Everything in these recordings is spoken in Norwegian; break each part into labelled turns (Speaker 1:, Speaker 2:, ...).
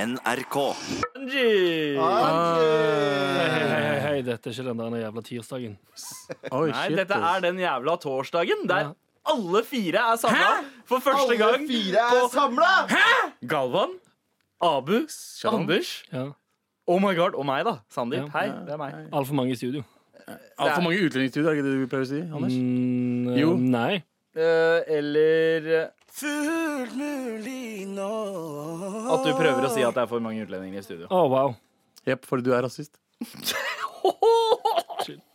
Speaker 1: NRK.
Speaker 2: Angie!
Speaker 3: Ah,
Speaker 2: Hei, hei,
Speaker 3: Andy!
Speaker 2: hei, hei, dette er ikke den der jævla tirsdagen.
Speaker 4: Oi,
Speaker 2: Nei,
Speaker 4: shit,
Speaker 2: dette
Speaker 4: ass.
Speaker 2: er den jævla torsdagen der
Speaker 4: Ja.
Speaker 2: alle fire er samla for første
Speaker 3: Alle
Speaker 2: gang.
Speaker 3: fire er samla!
Speaker 2: Galvan, Abu,
Speaker 4: Shalom.
Speaker 2: Anders,
Speaker 4: ja.
Speaker 2: oh my god, og meg, da. Sandeep.
Speaker 4: Ja.
Speaker 2: Hei, det er meg.
Speaker 4: Altfor mange i studio.
Speaker 2: Det er-
Speaker 4: Altfor mange utlendingsstudier, er ikke det du prøver å si? Anders?
Speaker 2: Mm, eh,
Speaker 4: Jo.
Speaker 2: Nei.
Speaker 3: Eh,
Speaker 2: Eller eh,
Speaker 1: Fullt mulig nå
Speaker 2: at du prøver å si at det er for mange utlendinger i studio.
Speaker 4: Å, wow. Jepp, Mm. fordi du er rasist.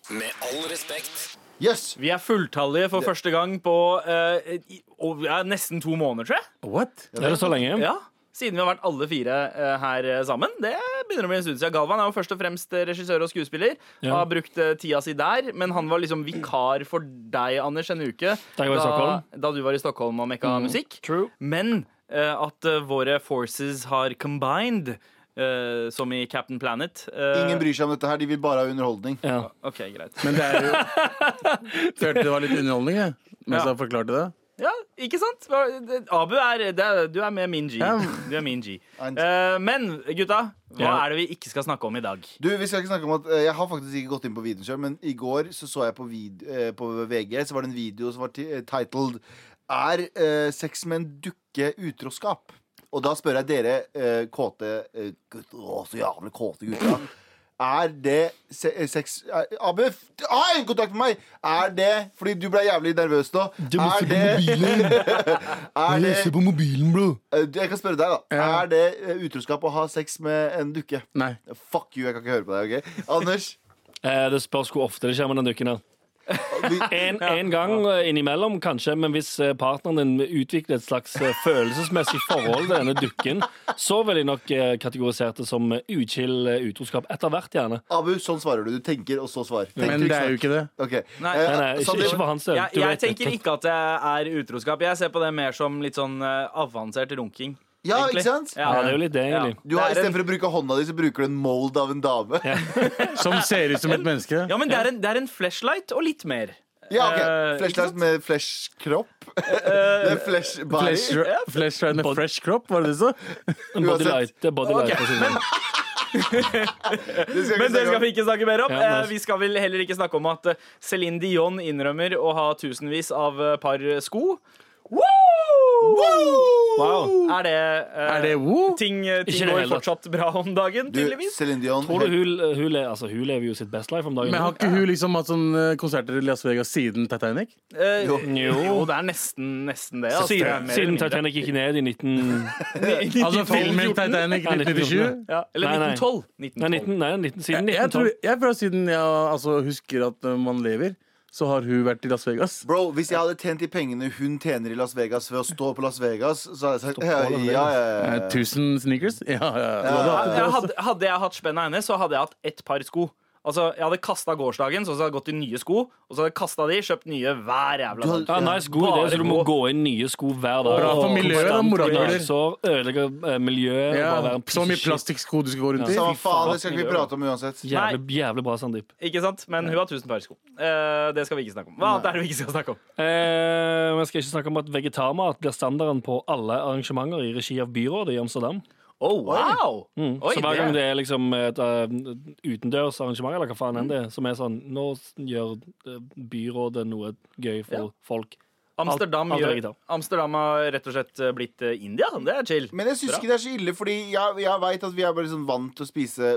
Speaker 1: Med all respekt.
Speaker 3: Jøss.
Speaker 2: Vi er fulltallige for første gang på eh, i- og, ja, nesten to måneder, tror jeg.
Speaker 4: What?
Speaker 3: Ja,
Speaker 4: Er det så lenge?
Speaker 2: Ja, siden vi har vært alle fire eh, her eh, sammen. Det begynner å bli en stund siden. Galvan er jo først og fremst eh, regissør og skuespiller.
Speaker 4: Ja.
Speaker 2: Har brukt eh, tida si der, men han var liksom vikar for deg, Anders, en uke.
Speaker 4: Da jeg var i Stockholm. Mm.
Speaker 2: da du var i Stockholm og mekka musikk.
Speaker 4: True.
Speaker 2: Men eh, at eh, våre forces har combined, eh, som i Captain Planet eh,
Speaker 3: Ingen bryr seg om dette her, de vil bare ha underholdning.
Speaker 4: Ja.
Speaker 2: Ok, greit.
Speaker 4: Men det er jo Følte det var litt underholdning, jeg. Mens
Speaker 2: Ja.
Speaker 4: han forklarte det.
Speaker 2: Ja, ikke sant? Hva- det- Abu er, det er Du er med min G.
Speaker 4: Ja.
Speaker 2: Du er min G.
Speaker 3: And-
Speaker 2: Eh, men gutta, hva
Speaker 4: Ja.
Speaker 2: er det vi ikke skal snakke om i dag?
Speaker 3: Du, vi skal ikke snakke om at eh, Jeg har faktisk ikke gått inn på videoen selv, men i går så, så jeg på, vid eh, på VG Så var det en video som var ti- eh, titled Er eh, sex med en dukke utroskap? Og da spør jeg dere eh, kåte eh, gutter, å, Så jævlig kåte gutta. Er det se eh, sex er, Abu, f- ha en kontakt med meg! Er det Fordi du ble jævlig nervøs nå. Er det, er det
Speaker 4: på mobilen, bro.
Speaker 3: eh, du, Jeg kan spørre deg, da.
Speaker 4: Ja.
Speaker 3: Er det eh, utroskap å ha sex med en dukke?
Speaker 4: Nei.
Speaker 3: Fuck you, jeg kan ikke høre på deg. ok? Anders?
Speaker 4: Eh, det spørs hvor ofte det skjer med den dukken her.
Speaker 3: Vi,
Speaker 4: En, en gang eh, innimellom, kanskje, men hvis eh, partneren din utvikler et slags eh, følelsesmessig forhold til denne dukken, så vil jeg nok eh, kategorisert det som eh, uchill eh, utroskap etter hvert, gjerne.
Speaker 3: Abu, sånn svarer du. Du tenker, og så svarer. Tenker
Speaker 4: Men
Speaker 3: du
Speaker 4: det er jo ikke det.
Speaker 3: Ok.
Speaker 2: Nei,
Speaker 3: Eh,
Speaker 4: Nei, nei, ikke,
Speaker 3: Sandeep,
Speaker 4: ikke for hans del.
Speaker 2: Jeg,
Speaker 4: Du
Speaker 2: jeg
Speaker 4: vet
Speaker 2: tenker
Speaker 4: dette.
Speaker 2: ikke at det er utroskap. Jeg ser på det mer som litt sånn eh, avansert runking.
Speaker 3: ja,
Speaker 2: egentlig.
Speaker 3: ikke sant?
Speaker 4: Ja, det er jo litt det, egentlig.
Speaker 3: Du
Speaker 2: Det
Speaker 3: har,
Speaker 2: er en-
Speaker 3: Istedenfor å bruke hånda di, så bruker du en mold av en dame. Ja,
Speaker 4: Som ser ut som et menneske.
Speaker 2: Ja, men det er en, det er en flashlight og litt mer. Eh,
Speaker 3: ok.
Speaker 2: ikke sant?
Speaker 3: Flashlight med flesh-kropp. Det er flesh body.
Speaker 4: Flesh, flesh and a fresh crop, var det det så? En Bodylight. det er bodylight for
Speaker 2: Ok,
Speaker 4: å si det.
Speaker 3: Det skal
Speaker 2: Men det
Speaker 3: snakke
Speaker 2: skal
Speaker 3: om.
Speaker 2: vi ikke snakke mer om.
Speaker 4: Ja, nice.
Speaker 2: Eh, Vi skal vel heller ikke snakke om at eh, Céline Dion innrømmer å ha tusenvis av eh, par sko.
Speaker 4: Wow.
Speaker 2: Er det, eh,
Speaker 4: Er det woo?
Speaker 2: ting, eh,
Speaker 4: Ikke
Speaker 2: ting
Speaker 4: det
Speaker 2: går
Speaker 4: hele
Speaker 2: fortsatt bra om dagen,
Speaker 3: Du,
Speaker 2: tydeligvis?
Speaker 3: Céline Dion
Speaker 4: Tror du hun, hun, le- altså, hun lever jo sitt best life om dagen? Men har ikke hun liksom hatt sånn eh, konserter i Las Vegas siden Titanic?
Speaker 2: Eh,
Speaker 3: Jo.
Speaker 2: jo. det er nesten, nesten det. altså. Det er
Speaker 4: Siden,
Speaker 2: mer
Speaker 4: siden
Speaker 2: eller mindre.
Speaker 4: Titanic gikk ned i 19...
Speaker 2: Altså,
Speaker 4: Altså filmen Titanic
Speaker 2: Ja,
Speaker 4: 1997?
Speaker 2: Ja, eller
Speaker 4: Nei, nei.
Speaker 2: 1912.
Speaker 4: Nei, 19, nei 19, siden Jeg, jeg, 1912. tror, jeg føler at siden jeg altså, husker at eh, man lever, så har hun vært i Las Vegas.
Speaker 3: Bro, Hvis jeg hadde tjent de pengene hun tjener i Las Vegas ved å stå på Las Vegas, så hadde jeg sagt
Speaker 4: på Las Vegas.
Speaker 3: ja, ja, ja,
Speaker 4: Eh,
Speaker 3: ja.
Speaker 4: 1000 sneakers? Ja, ja. ja.
Speaker 2: Ja, jeg hadde, hadde jeg hatt spenna hennes, så hadde jeg hatt ett par sko. Altså, Jeg hadde kasta gårsdagen, så hadde jeg gått i nye sko. Og så hadde jeg kasta de, kjøpt nye hver jævla
Speaker 3: Du hadde-
Speaker 2: dag.
Speaker 4: Ja, nice, God idé, så du må gå i nye sko hver dag.
Speaker 2: Bra for
Speaker 4: Og
Speaker 2: miljøet, da,
Speaker 4: konstant morapuler.
Speaker 5: Sår, ødelegger eh, miljøet.
Speaker 4: Ja,
Speaker 5: og bare være en piece
Speaker 4: så
Speaker 5: of
Speaker 4: mye
Speaker 5: shit.
Speaker 4: plastikksko du skal gå rundt i.
Speaker 3: Samme faen, det skal ikke vi prate om uansett.
Speaker 5: Jævlig, jævlig bra, Sandeep.
Speaker 2: Ikke sant? Men hun har 1000 par sko. Eh, det skal vi ikke snakke om. Hva annet er det vi ikke skal snakke om?
Speaker 5: Eh, men jeg skal ikke snakke om at vegetarmat blir standarden på alle arrangementer i regi av byrådet i Amsterdam.
Speaker 2: Oh, wow! Oi,
Speaker 5: Mm, så hver
Speaker 2: det-
Speaker 5: gang det er liksom et eh, utendørs arrangement, eller hva faen enn det er, som er sånn Nå s- gjør eh, byrådet noe gøy for folk.
Speaker 2: Amsterdam,
Speaker 5: Alt- alt er
Speaker 2: gjør,
Speaker 5: vegetar.
Speaker 2: Amsterdam har rett og slett eh, blitt eh, India. Det er chill.
Speaker 3: Men jeg syns
Speaker 2: Bra.
Speaker 3: ikke det er så ille, fordi jeg, jeg veit at vi er bare sånn vant til å spise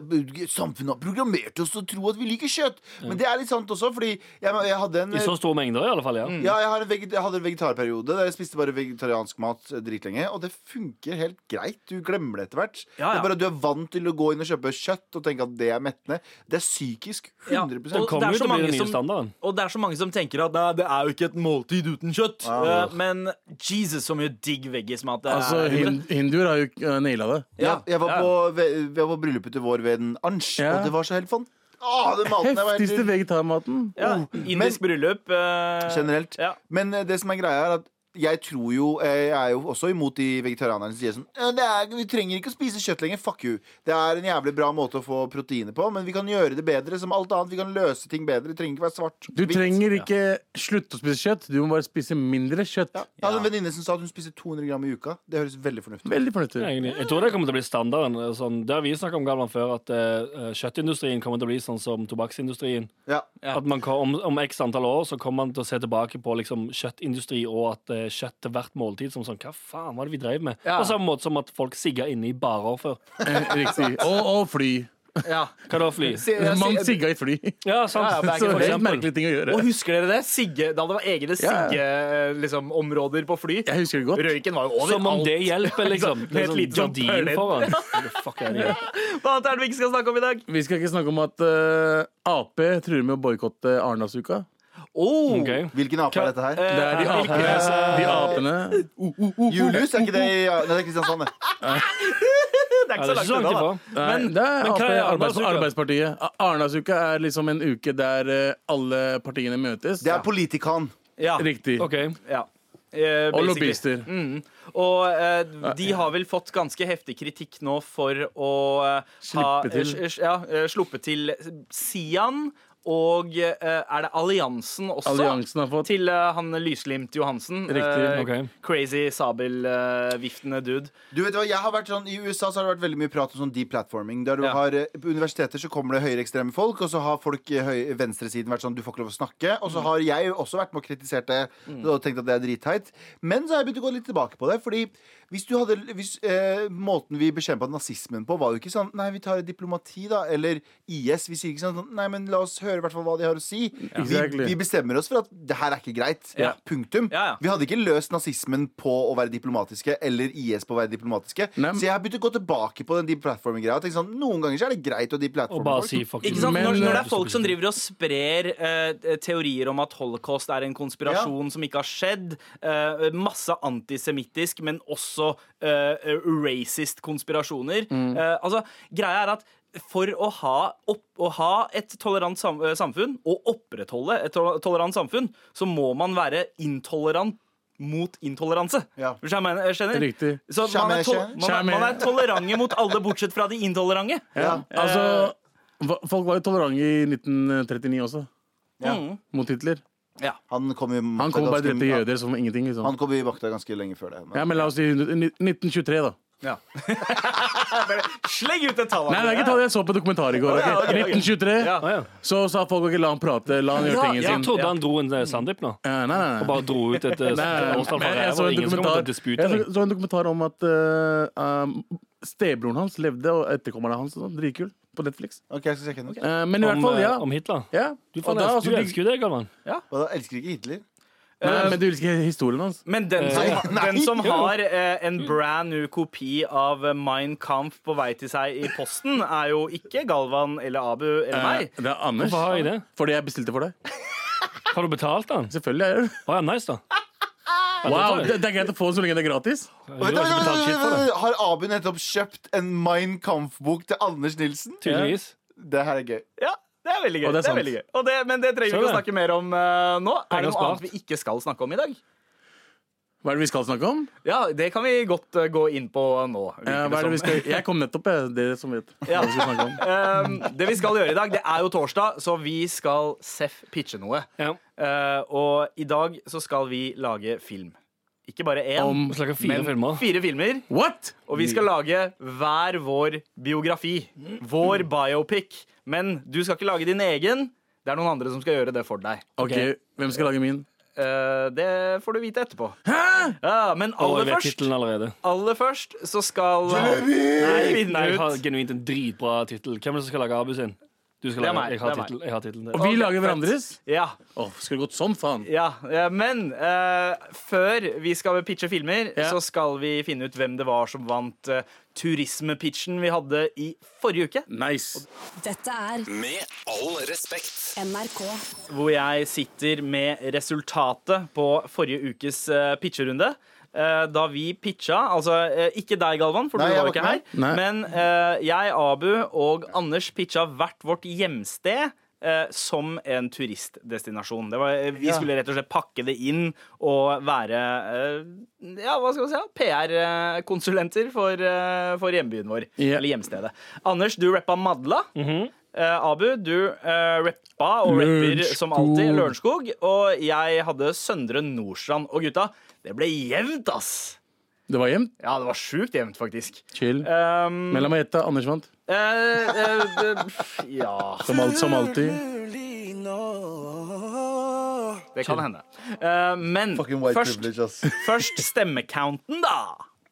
Speaker 3: Samfunnet har programmert oss til å tro at vi liker kjøtt. Men det er litt sant også, fordi jeg, jeg hadde en
Speaker 5: I så store mengder, i alle fall. ja.
Speaker 2: Mm.
Speaker 3: ja, jeg, har en veget, jeg hadde en vegetarperiode der jeg spiste bare vegetariansk mat eh, dritlenge. Og det funker helt greit. Du glemmer det etter hvert.
Speaker 2: Ja, ja.
Speaker 3: Det er bare at Du er vant til å gå inn og kjøpe kjøtt og tenke at det er mettende. Det er psykisk.
Speaker 2: Ja,
Speaker 3: 100
Speaker 2: og-
Speaker 5: Det
Speaker 2: Det er
Speaker 5: kommer jo
Speaker 2: så
Speaker 5: til å bli
Speaker 2: mange
Speaker 5: den nye
Speaker 2: som-
Speaker 5: standarden.
Speaker 2: Og det er så mange som tenker at nei, det er jo ikke et måltid uten kjøtt.
Speaker 3: Ja.
Speaker 2: Eh, men Jesus, så mye digg veggismat det er.
Speaker 4: Altså, hin- Hinduer har jo eh, naila det.
Speaker 3: Ja, jeg var
Speaker 2: ja.
Speaker 3: på, ve- vi var på bryllupet til vår ved en ansj,
Speaker 4: Ja.
Speaker 3: og det var så helt fant... Åh, den maten der var
Speaker 2: Oh,
Speaker 3: helt
Speaker 4: Heftigste vegetarmaten.
Speaker 2: ja, indisk bryllup. eh,
Speaker 3: Generelt.
Speaker 2: Ja.
Speaker 3: Men eh, det som er greia er at jeg tror jo eh, Jeg er jo også imot de vegetarianerne som sier sånn «Ja, det er, Vi trenger ikke å spise kjøtt lenger. Fuck you. Det er en jævlig bra måte å få proteiner på, men vi kan gjøre det bedre som alt annet. Vi kan løse ting bedre. Det trenger ikke være svart.
Speaker 6: Du
Speaker 3: hvitt.»
Speaker 6: trenger ikke slutte å spise kjøtt, du må bare spise mindre kjøtt.
Speaker 3: Jeg hadde en venninne som sa at hun spiser 200 gram i uka. Det høres veldig fornuftig ut.
Speaker 6: Veldig fornuftig.
Speaker 4: Egentlig. Jeg tror det kommer til å bli standarden. eh, Sånn, det har vi snakket om Galvan, før, at eh, kjøttindustrien kommer til å bli sånn som tobakksindustrien.
Speaker 3: Ja.
Speaker 2: Ja.
Speaker 4: At man, kan- om, om x antall år så kommer man til å se tilbake på liksom, kjøttindustri og at eh, kjøtt til hvert måltid som sånn Hva faen var det vi drev med?
Speaker 2: Ja.
Speaker 4: På samme måte som at folk sigga inne i barer før.
Speaker 6: Eh, Riktig. Og, og fly.
Speaker 2: Ja.
Speaker 4: Hva da, fly?
Speaker 6: Man sigga i fly.
Speaker 4: Ja, sant.
Speaker 2: Ja, ja,
Speaker 6: Så
Speaker 2: for
Speaker 6: helt
Speaker 2: eksempel.
Speaker 6: merkelig ting å gjøre.
Speaker 2: Og husker dere det? Sigge, da det var egne
Speaker 6: Ja, ja.
Speaker 2: siggeområder liksom, områder på fly.
Speaker 6: Jeg husker det godt.
Speaker 2: Røyken var jo
Speaker 4: Som om
Speaker 2: overalt.
Speaker 4: det hjelper, liksom. Det
Speaker 2: Med et
Speaker 4: er sånn
Speaker 2: lite sånn
Speaker 4: gardin
Speaker 2: pørlett.
Speaker 4: foran. The fuck er det?
Speaker 2: Hva annet er det vi ikke skal snakke om i dag?
Speaker 6: Vi skal ikke snakke om at eh, Ap truer med å boikotte Arendalsuka.
Speaker 2: Oh,
Speaker 4: Ok.
Speaker 3: Hvilken ape er dette her?
Speaker 6: Det er
Speaker 2: Eh,
Speaker 6: de apene, de apene
Speaker 3: Julius? Er ikke det i Nei, det er Kristiansand, det.
Speaker 2: Det er
Speaker 4: Ja,
Speaker 2: ikke
Speaker 4: det er ikke
Speaker 2: så langt
Speaker 4: så langt
Speaker 2: unna. da.
Speaker 4: ifra.
Speaker 6: Nei, det er
Speaker 4: men hva
Speaker 6: AP,
Speaker 4: er
Speaker 6: arbeids,
Speaker 4: Arendalsuka?
Speaker 6: Arbeidspartiet. A- Arendalsuka er liksom en uke der eh, alle partiene møtes.
Speaker 3: Det er politikan.
Speaker 2: Ja.
Speaker 6: Riktig.
Speaker 4: OK.
Speaker 2: Ja. Eh,
Speaker 6: Og
Speaker 2: basically.
Speaker 6: lobbyister.
Speaker 2: Mm. Og eh, de har vel fått ganske heftig kritikk nå for å eh,
Speaker 6: Slippe til.
Speaker 2: eh, s- ja, eh, sluppe til Sian. Og eh, er det Alliansen også?
Speaker 6: Alliansen har fått
Speaker 2: Til eh, han Lysglimt Johansen.
Speaker 6: Riktig,
Speaker 2: Eh,
Speaker 4: ok.
Speaker 2: Crazy sabelviftende dude.
Speaker 3: Du vet hva, jeg har vært sånn, I USA så har det vært veldig mye prat om sånn deplatforming. Der du
Speaker 2: Ja.
Speaker 3: har, eh, på universiteter så kommer det høyreekstreme folk, og så har folk i høy, venstresiden vært sånn du får ikke lov å snakke.
Speaker 2: Mm.
Speaker 3: Og så har jeg også vært med og kritisert det og tenkt at det er dritteit. Men så har jeg begynt å gå litt tilbake på det. Fordi hvis du hadde hvis, eh, Måten vi bekjempa nazismen på, var jo ikke sånn Nei, vi tar diplomati, da. Eller IS. Vi sier ikke sånn Nei, men la oss høre i hvert fall hva de har å si.
Speaker 6: Exactly.
Speaker 3: Vi, vi bestemmer oss for at det her er ikke greit.
Speaker 2: Ja.
Speaker 3: Punktum.
Speaker 2: Ja, ja.
Speaker 3: Vi hadde ikke løst nazismen på å være diplomatiske eller IS på å være diplomatiske.
Speaker 6: Nei, men-
Speaker 3: Så jeg har begynt å gå tilbake på den deplatforming-greia. og tenkt Sånn, noen ganger så er det greit å
Speaker 4: Og
Speaker 3: deplatforme
Speaker 4: bare
Speaker 3: folk.
Speaker 4: si fuck
Speaker 2: Ikke sant?
Speaker 6: Men- eh,
Speaker 2: når, når det er folk som driver og sprer eh, teorier om at holocaust er en konspirasjon som ikke har skjedd, eh, masse antisemittisk, men også eh, racist konspirasjoner eh, Altså, greia er at for å ha, opp, å ha et tolerant sam eh, samfunn, og opprettholde et to- tolerant samfunn, så må man være intolerant mot intoleranse.
Speaker 3: Ja.
Speaker 2: Skjønner jeg mener- skjønner?
Speaker 6: Riktig.
Speaker 2: Så man er, tol
Speaker 3: Skjønner,
Speaker 2: man, er, man er tolerante mot alle, bortsett fra de intolerante.
Speaker 3: Ja.
Speaker 6: Altså, hva- folk var jo tolerante i 1939 også,
Speaker 3: Ja.
Speaker 2: Mm.
Speaker 6: mot Hitler.
Speaker 3: Han kom i
Speaker 6: Han kom bare
Speaker 3: ganske-
Speaker 6: direkte til jøder som ingenting.
Speaker 3: Han
Speaker 6: liksom
Speaker 3: kom i makta ganske lenge før det. Men.
Speaker 6: Ja, Men la oss si 100 1923, da.
Speaker 2: Sleng ut et tall!
Speaker 6: Nei, det er ikke tallet jeg så på dokumentar i går. ok?
Speaker 2: Ja, ok, ok.
Speaker 6: 1923,
Speaker 2: Ja.
Speaker 4: Ah, ja.
Speaker 6: så sa folk ok, la han prate, la han gjøre
Speaker 4: Ja,
Speaker 6: tingen
Speaker 4: jeg
Speaker 6: sin.
Speaker 4: trodde han dro en eh, Sandeep nå.
Speaker 6: Eh, Nei, nei,
Speaker 4: Og
Speaker 6: nei.
Speaker 4: bare dro ut et eh,
Speaker 6: Nei, nei,
Speaker 4: årstall fra
Speaker 6: nei. Men Jeg
Speaker 4: ræva. og
Speaker 6: så en
Speaker 4: Ingen som kommer til å
Speaker 6: dokumentar,
Speaker 4: dispute
Speaker 6: jeg
Speaker 4: deg.
Speaker 6: så- så en dokumentar om at eh, um, stebroren hans levde, og etterkommerne hans. og sånn. Dritkul. På Netflix.
Speaker 3: Ok, jeg skal sjekke den ut.
Speaker 6: Eh, Men i hvert
Speaker 4: Om,
Speaker 6: fall,
Speaker 4: eh,
Speaker 6: ja.
Speaker 4: om Hitler.
Speaker 6: ja.
Speaker 4: Du,
Speaker 6: Og
Speaker 4: faen,
Speaker 6: da,
Speaker 4: elsker,
Speaker 6: altså,
Speaker 4: du
Speaker 6: de-
Speaker 4: elsker jo det, Galvan.
Speaker 3: Og da elsker ikke Hitler.
Speaker 6: Nei, men du elsker historien hans.
Speaker 2: Men den som,
Speaker 3: Eh, nei.
Speaker 2: den som
Speaker 3: Jo.
Speaker 2: har eh, en brand new kopi av eh, Mein Kampf på vei til seg i posten, er jo ikke Galvan eller Abu eller
Speaker 6: Eh,
Speaker 2: meg.
Speaker 6: Det er Anders.
Speaker 4: Hvorfor har jeg det?
Speaker 6: Fordi jeg bestilte for deg.
Speaker 4: Har du betalt den?
Speaker 6: Selvfølgelig er det
Speaker 4: Å ja, nice, da.
Speaker 6: Wow, det, det er greit å få den så lenge det er gratis.
Speaker 4: Du
Speaker 3: Vent,
Speaker 4: har ikke
Speaker 3: vent, vent,
Speaker 4: betalt shit
Speaker 3: vent,
Speaker 4: for det.
Speaker 3: vent. Har Abu nettopp kjøpt en Mein Kampf-bok til Anders Nilsen?
Speaker 4: Tydeligvis.
Speaker 3: Det her er gøy.
Speaker 2: Ja, det er veldig gøy.
Speaker 6: Og det er
Speaker 2: det er
Speaker 6: sant.
Speaker 2: veldig gøy. Og det, men det trenger vi
Speaker 4: Så
Speaker 2: ikke å
Speaker 4: det.
Speaker 2: snakke mer om eh, nå. Er
Speaker 4: Penger
Speaker 2: det noe
Speaker 4: spart.
Speaker 2: annet vi ikke skal snakke om i dag?
Speaker 6: Hva er det vi skal snakke om?
Speaker 2: Ja, det kan vi godt eh, gå inn på nå. virker
Speaker 6: Eh, hva er det vi
Speaker 2: som.
Speaker 6: skal... Jeg kom nettopp, jeg. Dere som vet.
Speaker 2: Ja.
Speaker 6: Hva vi skal snakke om.
Speaker 2: Um, det vi skal gjøre i dag, det er jo torsdag, så vi skal seff pitche noe.
Speaker 4: Ja.
Speaker 2: Eh, og i dag så skal vi lage film. Ikke bare én,
Speaker 6: Om
Speaker 4: Vi snakker fire
Speaker 2: men
Speaker 4: filmer.
Speaker 2: fire filmer.
Speaker 6: What?
Speaker 2: Og vi skal lage hver vår biografi. Vår biopic. Men du skal ikke lage din egen. Det er noen andre som skal gjøre det for deg.
Speaker 6: Ok, Hvem skal lage min?
Speaker 2: Eh, det får du vite etterpå. Ja, men
Speaker 4: Og jeg
Speaker 2: aller
Speaker 4: vet
Speaker 2: først,
Speaker 4: tittelen allerede.
Speaker 2: aller først så skal vi
Speaker 4: Nei,
Speaker 2: finne
Speaker 4: jeg har
Speaker 2: ut
Speaker 4: genuint en dritbra tittel. Hvem er det som skal lage Abu sin? Du skal
Speaker 2: Det er
Speaker 4: lage,
Speaker 2: meg,
Speaker 4: jeg har
Speaker 2: det er meg.
Speaker 4: tittel- jeg har tittelen.
Speaker 6: Og vi lager hverandres?
Speaker 2: ja,
Speaker 6: Åh, Skulle det gått sånn, faen.
Speaker 2: ja, ja, Men eh, før vi skal pitche filmer,
Speaker 6: Ja.
Speaker 2: så skal vi finne ut hvem det var som vant eh, turismepitchen vi hadde i forrige uke.
Speaker 6: Nice.
Speaker 7: Dette er
Speaker 1: Med all respekt.
Speaker 7: NRK.
Speaker 2: hvor jeg sitter med resultatet på forrige ukes eh, pitcherunde. Eh, Da vi pitcha Altså, eh, ikke deg, Galvan, for
Speaker 3: Nei,
Speaker 2: du
Speaker 3: jeg
Speaker 2: var
Speaker 3: var
Speaker 2: ikke
Speaker 3: ikke
Speaker 2: her.
Speaker 6: med. Nei.
Speaker 2: Men eh, jeg, Abu og Anders pitcha hvert vårt hjemsted. eh, eh, som en turistdestinasjon. Det var, eh, vi skulle rett og slett pakke det inn og være eh, ja, hva skal vi si, ja, PR-konsulenter for, eh, for hjembyen vår.
Speaker 6: Ja.
Speaker 2: Eller hjemstedet. Anders, du rappa Madla. Eh, Abu, du eh, rappa og rapper som alltid Lørenskog. Og jeg hadde Søndre Nordstrand. Og gutta, det ble jevnt, ass!
Speaker 6: Det var jevnt.
Speaker 2: Ja, det var sjukt jevnt, faktisk.
Speaker 6: Chill.
Speaker 2: Um,
Speaker 6: Men la meg gjette. Anders vant.
Speaker 2: eh, eh, eh, pff, ja
Speaker 6: Som, alt, som alltid.
Speaker 2: Det kan hende. Eh, men
Speaker 3: Fucking white
Speaker 2: først,
Speaker 3: privilege, ass.
Speaker 2: først stemmecounten, da.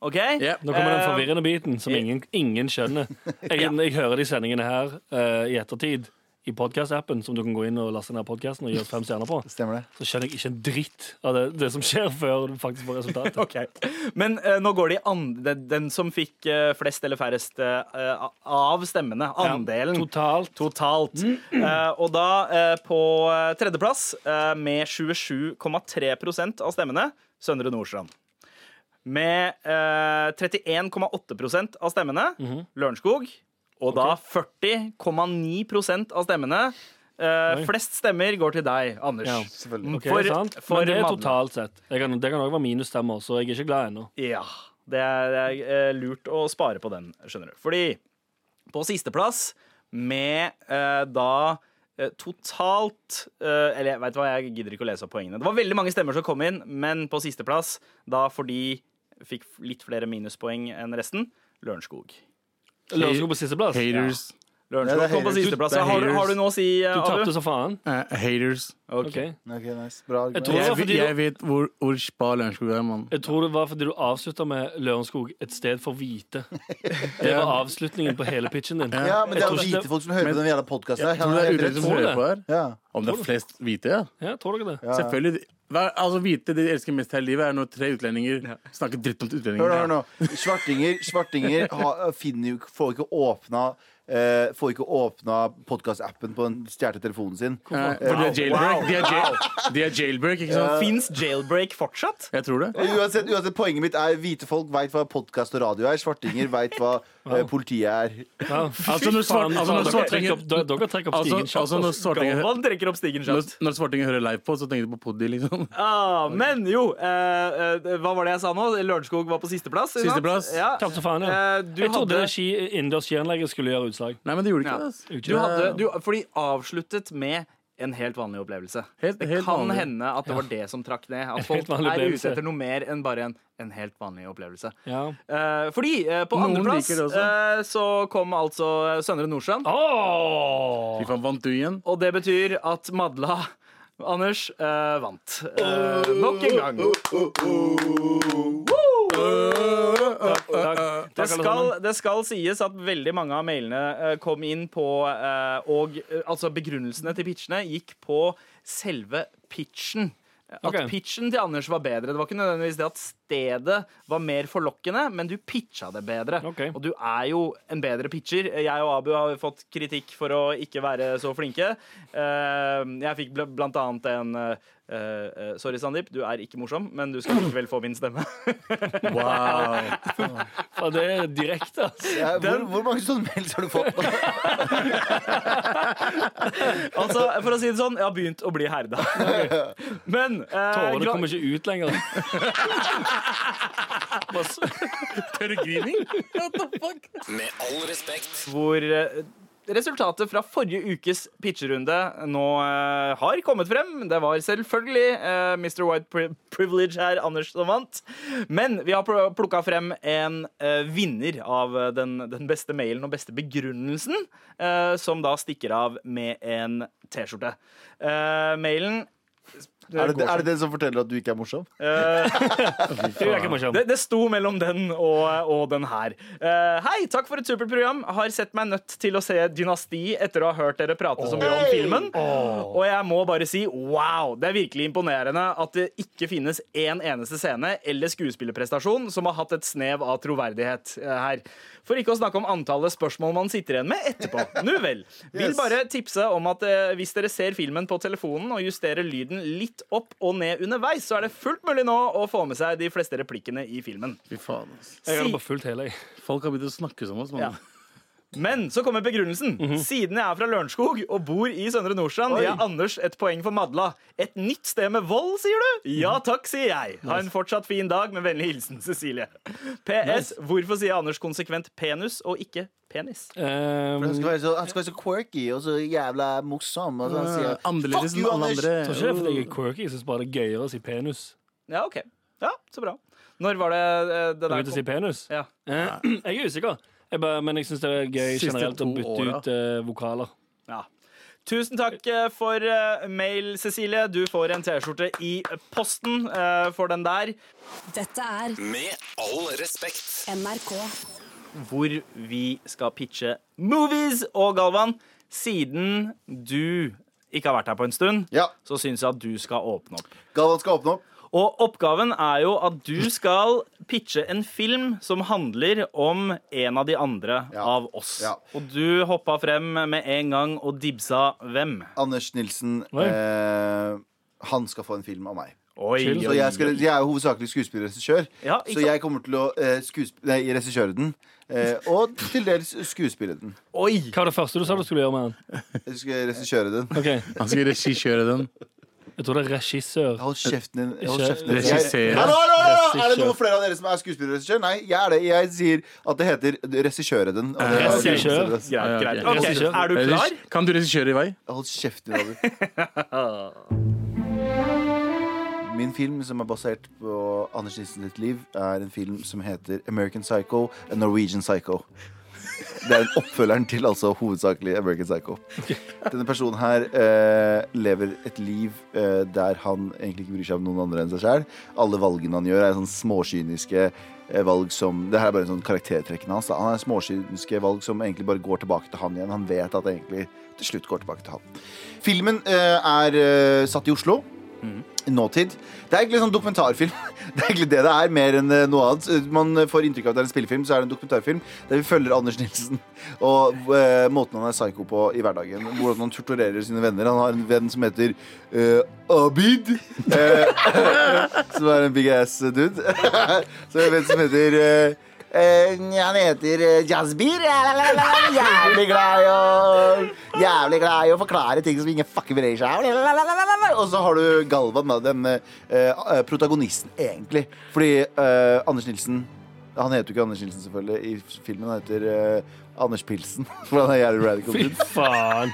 Speaker 2: OK?
Speaker 6: Ja,
Speaker 4: Nå kommer den
Speaker 2: Eh,
Speaker 4: forvirrende biten som ingen, ingen skjønner. Jeg, jeg hører de sendingene her eh, i ettertid i podkast-appen, som du kan gå inn og laste ned podkasten og gi oss fem stjerner på.
Speaker 3: Stemmer det?
Speaker 4: Så skjønner jeg ikke en dritt av det, det som skjer, før du faktisk får resultatet.
Speaker 2: Ok. Men eh, nå går de an den, den som fikk eh, flest eller færrest eh, av stemmene, andelen
Speaker 4: Totalt.
Speaker 2: totalt.
Speaker 4: Mm.
Speaker 2: Eh, og da eh, på eh, tredjeplass, eh, med 27,3 av stemmene, Søndre Nordstrand. Med eh, 31,8 av stemmene,
Speaker 4: Mhm.
Speaker 2: Lørenskog. Og da 40,9 av stemmene. Eh, flest stemmer går til deg, Anders. Mm,
Speaker 4: Ja.
Speaker 3: Selvfølgelig.
Speaker 4: Ok,
Speaker 2: For-
Speaker 4: sant?
Speaker 2: for
Speaker 4: Men det er
Speaker 2: Madla.
Speaker 4: totalt sett. Jeg kan, det kan òg være minusstemmer, så jeg er ikke glad ennå.
Speaker 2: Ja. Det er, det er eh, lurt å spare på den, skjønner du. Fordi på sisteplass, med eh, da eh, totalt eh, Eller veit du hva, jeg gidder ikke å lese opp poengene. Det var veldig mange stemmer som kom inn, men på sisteplass, da fordi fikk f- litt flere minuspoeng enn resten, Lørenskog.
Speaker 4: Lørenskog på sisteplass.
Speaker 6: Haters.
Speaker 3: Ja,
Speaker 2: Lørenskog
Speaker 3: det er
Speaker 2: kom på
Speaker 3: haters.
Speaker 2: sisteplass.
Speaker 6: Det er
Speaker 2: Ja, Har, du- har
Speaker 6: haters.
Speaker 2: du noe å si, eh,
Speaker 4: Du tapte
Speaker 2: Abu?
Speaker 4: så faen.
Speaker 6: Eh, haters.
Speaker 2: Ok.
Speaker 4: Ok.
Speaker 3: Ok, nice. Bra
Speaker 4: Jeg
Speaker 3: argument.
Speaker 4: tror det var
Speaker 6: Jeg,
Speaker 4: fordi
Speaker 6: vet-
Speaker 4: du-
Speaker 6: jeg vet hvor, hvor spa Lørenskog er, mann.
Speaker 4: Jeg tror det var fordi du avslutta med Lørenskog, et sted for hvite. Det var avslutningen på hele pitchen din.
Speaker 3: Ja, men det
Speaker 4: Jeg
Speaker 3: er
Speaker 4: tror
Speaker 3: jo
Speaker 4: ikke
Speaker 3: hvite
Speaker 4: det-
Speaker 3: folk som hører på den jævla podkasten.
Speaker 6: Tror du det er utenriks som
Speaker 4: tror
Speaker 6: hører
Speaker 4: det.
Speaker 6: på her?
Speaker 3: Ja.
Speaker 6: Om det er flest hvite, ja.
Speaker 4: Ja, tror dere det?
Speaker 3: Ja.
Speaker 6: Selvfølgelig. Hva, altså Hvite det de elsker mest her i livet, er når tre utlendinger snakker dritt om utlendinger.
Speaker 3: Hør nå, hør nå. Svartinger, svartinger ha, finner jo, ikke- får ikke åpna eh, får ikke åpna podkastappen på den stjålne telefonen sin.
Speaker 6: Eh, for de er jailbreak. De er, jail, de er jailbreak, ikke sant?
Speaker 2: Fins jailbreak fortsatt?
Speaker 6: Jeg tror det.
Speaker 3: Uansett, uansett, Poenget mitt er hvite folk veit hva podkast og radio er. Svartinger veit hva eh, politiet er.
Speaker 4: Ja.
Speaker 6: Altså, når
Speaker 4: Faen,
Speaker 6: svart- altså, når
Speaker 4: dere
Speaker 6: svartingen-
Speaker 4: trekker opp- dere- Dere trekker opp
Speaker 6: Altså,
Speaker 4: stigen kjapt.
Speaker 6: altså når, svartinger,
Speaker 2: Galvan trekker opp stigen
Speaker 6: når,
Speaker 2: kjapt.
Speaker 6: når svartinger hører live på, så tenker de på Poddy, liksom.
Speaker 2: Ah, men jo, eh, eh, hva var det jeg sa nå? Lørenskog var på sisteplass. ikke sant?
Speaker 6: Sisteplass.
Speaker 2: Ja.
Speaker 4: Kjapt som faen, ja.
Speaker 2: Eh, du
Speaker 4: Jeg trodde
Speaker 2: hadde-
Speaker 4: ski, innendørs skianlegget skulle gjøre utslag.
Speaker 6: Nei, men det gjorde ikke
Speaker 2: Ja.
Speaker 6: det. ass.
Speaker 2: Du hadde, du, for de avsluttet med en helt vanlig opplevelse.
Speaker 6: Helt-
Speaker 2: det
Speaker 6: helt
Speaker 2: kan
Speaker 6: vanlig.
Speaker 2: hende at det var det som trakk ned.
Speaker 4: helt
Speaker 2: At folk er
Speaker 4: vanlig opplevelse.
Speaker 2: ute etter noe mer enn bare en, en helt vanlig opplevelse.
Speaker 4: Ja.
Speaker 2: Eh, fordi eh, på
Speaker 6: Noen
Speaker 2: andreplass
Speaker 6: liker det Ah.
Speaker 2: eh, så kom altså Søndre Nordstrand.
Speaker 6: Fy faen, vant du igjen?
Speaker 2: Og det betyr at Madla Anders eh, vant. Eh, nok en gang.
Speaker 4: Takk,
Speaker 2: Eh, Det
Speaker 4: takk, alle
Speaker 2: skal,
Speaker 4: sammen.
Speaker 2: det skal sies at veldig mange av mailene eh, kom inn på eh, Og eh, altså begrunnelsene til pitchene gikk på selve pitchen. At
Speaker 4: Ok.
Speaker 2: pitchen til Anders var bedre. Det var ikke nødvendigvis det at stedet var mer forlokkende, men du pitcha det bedre.
Speaker 4: Ok.
Speaker 2: Og du er jo en bedre pitcher. Jeg og Abu har fått kritikk for å ikke være så flinke. Eh, Jeg fikk bl- blant annet en eh, eh, Sorry, Sandeep, du er ikke morsom, men du skal likevel få min stemme.
Speaker 6: Wow.
Speaker 4: Ja, det er direkte, altså.
Speaker 3: Ja, hvor, hvor mange sånne mails har du fått?
Speaker 2: Altså, for å si det sånn, jeg har begynt å bli herda. Men eh,
Speaker 4: Tårene
Speaker 2: gra-
Speaker 4: kommer ikke ut lenger. Bare s-
Speaker 6: Tørrgrining?
Speaker 1: Med all respekt.
Speaker 2: hvor eh, resultatet fra forrige ukes pitcherunde nå eh, har kommet frem. Det var selvfølgelig eh, Mr. White Pri Privilege her, Anders, som vant. Men vi har pl- plukka frem en eh, vinner av eh, den, den beste mailen og beste begrunnelsen, eh, som da stikker av med en T-skjorte. Eh, mailen
Speaker 3: Er det, er det den som forteller at du ikke er morsom?
Speaker 2: eh,
Speaker 4: Du er ikke morsom.
Speaker 2: Det, det sto mellom den og, og den her. Eh, hei, takk for et supert program. Har sett meg nødt til å se Dynasti etter å ha hørt dere prate så mye om filmen. Og jeg må bare si wow! Det er virkelig imponerende at det ikke finnes én eneste scene eller skuespillerprestasjon som har hatt et snev av troverdighet eh, her. For ikke å snakke om antallet spørsmål man sitter igjen med etterpå. Nu vel. Vil
Speaker 3: Yes.
Speaker 2: bare tipse om at eh, hvis dere ser filmen på telefonen og justerer lyden litt opp og ned underveis, så er det fullt mulig nå å få med seg de fleste replikkene i filmen.
Speaker 6: Fy faen, ass.
Speaker 4: Jeg
Speaker 2: Si-
Speaker 4: hadde bare fulgt hele, jeg.
Speaker 6: Folk har begynt å snakke som oss, mann.
Speaker 2: Ja. Men så kommer begrunnelsen. Siden jeg er fra Lørenskog og bor i Søndre Nordstrand, gir jeg Anders et poeng for Madla. Et nytt sted med vold, sier du? Ja takk, sier jeg. Ha en fortsatt fin dag. Med vennlig hilsen Cecilie. PS. Hvorfor sier Anders konsekvent penis og ikke penis?
Speaker 3: For Han
Speaker 4: Um,
Speaker 3: skal være så, han skal være så quirky og så jævla morsom. Og så han sier,
Speaker 6: Eh, Annerledes
Speaker 3: Fuck
Speaker 6: enn
Speaker 3: you,
Speaker 6: alle
Speaker 3: Anders!
Speaker 6: andre.
Speaker 4: jeg tror ikke det er fordi jeg er quirky. Jeg syns bare det er gøyere å si penis.
Speaker 2: Ja, OK. Ja, så bra. Når var det eh, det
Speaker 4: Jeg
Speaker 2: der
Speaker 4: begynte å si penis.
Speaker 2: Ja.
Speaker 4: Eh, Jeg er usikker. Jeg bare, men jeg syns det er gøy
Speaker 6: Siste
Speaker 4: generelt å
Speaker 6: to
Speaker 4: bytte
Speaker 6: åra.
Speaker 4: ut eh, vokaler.
Speaker 2: Ja. Tusen takk eh, for eh, mail, Cecilie. Du får en T-skjorte i posten eh, for den der.
Speaker 7: Dette er
Speaker 1: Med all respekt.
Speaker 7: NRK.
Speaker 2: Hvor vi skal pitche movies. Og Galvan, siden du ikke har vært her på en stund,
Speaker 3: Ja,
Speaker 2: så syns jeg at du skal åpne opp.
Speaker 3: Galvan skal åpne opp.
Speaker 2: Og oppgaven er jo at du skal pitche en film som handler om en av de andre
Speaker 3: Ja.
Speaker 2: av oss.
Speaker 3: Ja.
Speaker 2: Og du hoppa frem med en gang og dibsa hvem.
Speaker 3: Anders Nilsen.
Speaker 4: Oi.
Speaker 3: Eh, han skal få en film av meg.
Speaker 2: Oi,
Speaker 4: Chill,
Speaker 3: Så jeg, skal, jeg er jo hovedsakelig skuespiller og regissør,
Speaker 2: Ja, ikke
Speaker 3: så jeg kommer til å eh, skuesp- nei, regissøre den. Eh, og til dels skuespille den.
Speaker 2: oi.
Speaker 4: Hva var det første du sa du skulle gjøre med den?
Speaker 3: Jeg skal regissøre den.
Speaker 4: Ok,
Speaker 6: Han skal regissere den.
Speaker 4: Jeg tror det er regissør.
Speaker 3: Hold kjeften din. Hold
Speaker 4: Ikke
Speaker 3: kjeften din.
Speaker 6: regissere.
Speaker 3: Jeg- Hallo, hallo, hallo! Er det
Speaker 4: Regissør.
Speaker 3: noen flere av dere som er skuespiller og regissør? Nei, jeg er det. Jeg sier at det heter regissøre den. Og det er-
Speaker 4: Regissør.
Speaker 2: Greit, greit.
Speaker 6: Ja,
Speaker 4: ok.
Speaker 2: Ok, Er du klar?
Speaker 6: Regis- Eh, Kan du regissere i vei?
Speaker 3: Hold kjeften din. Oliver. Min film som er basert på Anders Nissen sitt liv, er en film som heter American Psycho and Norwegian Psycho. Det er en oppfølgeren til altså hovedsakelig American Psycho. Denne personen her eh, lever et liv eh, der han egentlig ikke bryr seg om noen andre enn seg sjøl. Alle valgene han gjør, er sånn småkyniske eh, valg som Det her er bare en sånn karaktertrekkene hans. da. Han er småkyniske valg som egentlig bare går tilbake til han igjen. Han vet at det egentlig til slutt går tilbake til han. Filmen eh, er eh, satt i Oslo. i Nåtid. Det er egentlig en sånn dokumentarfilm. Det er egentlig det det er, mer enn eh, noe annet. Man får inntrykk av at det er en spillefilm, så er det en dokumentarfilm der vi følger Anders Nilsen og eh, måten han er psyko på i hverdagen. Hvordan han torturerer sine venner. Han har en venn som heter eh, Abid. eh, som er en big ass dude. så er det en venn som heter eh, eh, han heter eh, Jazbir. Ja, la, la, la, la. Jævlig glad i å Jævlig glad i å forklare ting som ingen fucker bryr seg om. La, la, la, la, la, la. Og så har du Galvan, da, den eh, eh, protagonisten, egentlig. Fordi eh, Anders Nilsen Han heter jo ikke Anders Nilsen, selvfølgelig, i filmen. Han heter eh, Anders Pilsen. For han er jævlig radical. dude.
Speaker 4: Faen.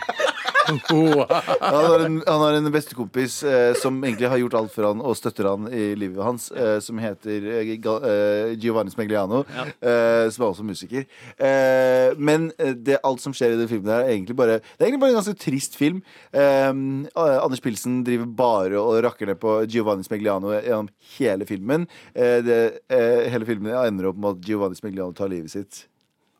Speaker 3: Han har en, han har en bestekompis eh, som egentlig har gjort alt for han og støtter han i livet hans, eh, som heter eh, Ga- eh, Giovanni Smegliano, eh, som er også musiker. Eh, men eh, det, alt som skjer i den filmen, her er egentlig bare Det er egentlig bare en ganske trist film. Eh, Anders Pilsen driver bare og rakker ned på Giovanni Smegliano gjennom hele filmen. Eh, det, eh, hele filmen ender opp med at Giovanni Smegliano tar livet sitt.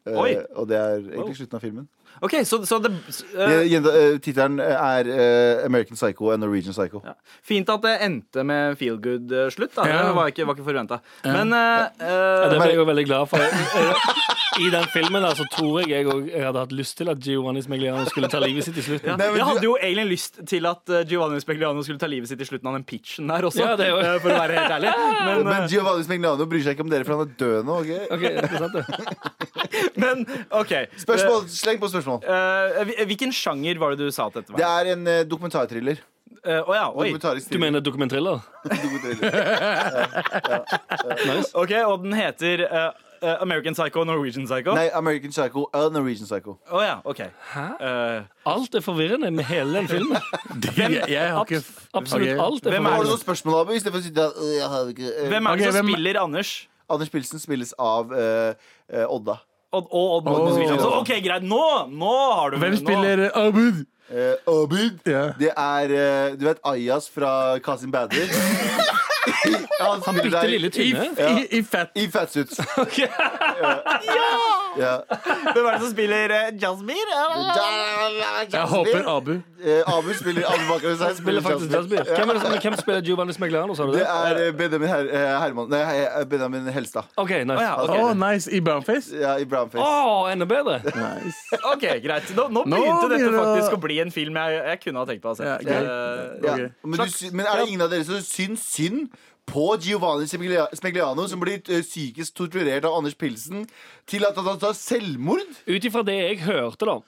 Speaker 3: Eh,
Speaker 2: Oi.
Speaker 3: og det er egentlig slutten av filmen.
Speaker 2: Ok, så, så det eh,
Speaker 3: Eh, jenta- eh, Tittelen er eh, American Psycho and Norwegian Psycho.
Speaker 2: Fint at det endte med feel good eh, slutt. Da.
Speaker 6: Ja.
Speaker 2: Det var ikke, var ikke forventa. Men eh, eh,
Speaker 4: Det ble jeg jo veldig glad for. Jeg- jeg- I den filmen der, så tror jeg jeg, og- jeg hadde hatt lyst til at Giovanni Smegliano skulle ta livet sitt i slutten.
Speaker 3: Nei, men
Speaker 2: jeg
Speaker 3: du-
Speaker 2: hadde jo egentlig lyst til at eh, Giovanni Spegliano skulle ta livet sitt i slutten av den pitchen der også.
Speaker 4: Ja, det er jo-
Speaker 2: eh, For å være helt ærlig. Men,
Speaker 3: Men Giovanni Smegliano bryr seg ikke om dere, for han er død nå. ok?
Speaker 4: Ok, det er sant det.
Speaker 2: eh, men OK.
Speaker 3: Spørsmål, Sleng på spørsmål.
Speaker 2: Eh, eh, hvil- hvilken sjanger var det du sa at dette
Speaker 3: Det
Speaker 2: var? Eh,
Speaker 3: er en eh, dokumentarthriller.
Speaker 2: Å ja, oi.
Speaker 3: Dokumentarisk
Speaker 4: Du
Speaker 3: thriller.
Speaker 4: mener dokumentriller?
Speaker 3: Dokumentarthriller.
Speaker 2: Ok, Og den heter eh, eh, American Psycho, Norwegian Psycho? Å
Speaker 3: Nei, American Psycho and Norwegian Psycho.
Speaker 2: ja, OK. Eh,
Speaker 4: Alt er forvirrende med hele den filmen.
Speaker 6: Jeg, jeg har ikke
Speaker 4: Absolutt
Speaker 6: Ok.
Speaker 4: alt er
Speaker 2: Hvem er
Speaker 3: Har du
Speaker 4: forvirrende.
Speaker 3: noen spørsmål, Abu? I stedet for å sitte der, øh, jeg har ikke, øh.
Speaker 2: hvem er det
Speaker 6: Ok,
Speaker 2: som
Speaker 6: hvem-
Speaker 2: spiller Anders?
Speaker 3: Anders Pilsen spilles av eh, eh, Odda.
Speaker 2: Og, og Odd Magnus
Speaker 6: Åh.
Speaker 2: Williamson. OK, greit. Nå, nå har du
Speaker 6: Hvem
Speaker 2: nå-
Speaker 6: spiller Abud?
Speaker 3: Eh, Abid.
Speaker 6: Ja.
Speaker 3: Det er eh, Du vet Ayas fra Kasim Bader? han spiller
Speaker 4: Bitte
Speaker 3: der
Speaker 4: lille
Speaker 6: I,
Speaker 4: tynne.
Speaker 6: i, i fat.
Speaker 3: I fatsuits. ja!
Speaker 2: Hvem er det som spiller uh, Jasmir?
Speaker 6: Jeg håper Abu.
Speaker 3: Eh, Abu spiller Abu Bakar Hussein
Speaker 4: Spiller faktisk
Speaker 3: Jasper.
Speaker 4: Jasper. Hvem, er det som- hvem spiller Giovanni Smegliano, sa du
Speaker 3: Det
Speaker 4: det?
Speaker 3: er eh, Benjamin Her eh, Herman Nei, eh, Benjamin Helstad.
Speaker 4: OK, nice.
Speaker 2: ja,
Speaker 6: Å,
Speaker 2: ok.
Speaker 6: nice. I brownface?
Speaker 3: Ja, I brownface.
Speaker 5: Ah!
Speaker 4: Å, enda bedre!
Speaker 6: Nice.
Speaker 2: Ok, greit. Nå, nå begynte dette
Speaker 6: begynner det å-
Speaker 2: faktisk å bli en film jeg, jeg kunne ha tenkt på å se.
Speaker 6: Ja, ok.
Speaker 2: Eh,
Speaker 3: ja.
Speaker 6: ok.
Speaker 3: men, du, sy- men er det ingen av dere som syns synd på Giovanni Smiglia- Smigliano, som blir eh, psykisk torturert av Anders Pilsen, til at han tar selvmord?
Speaker 5: Ut ifra det jeg hørte, da.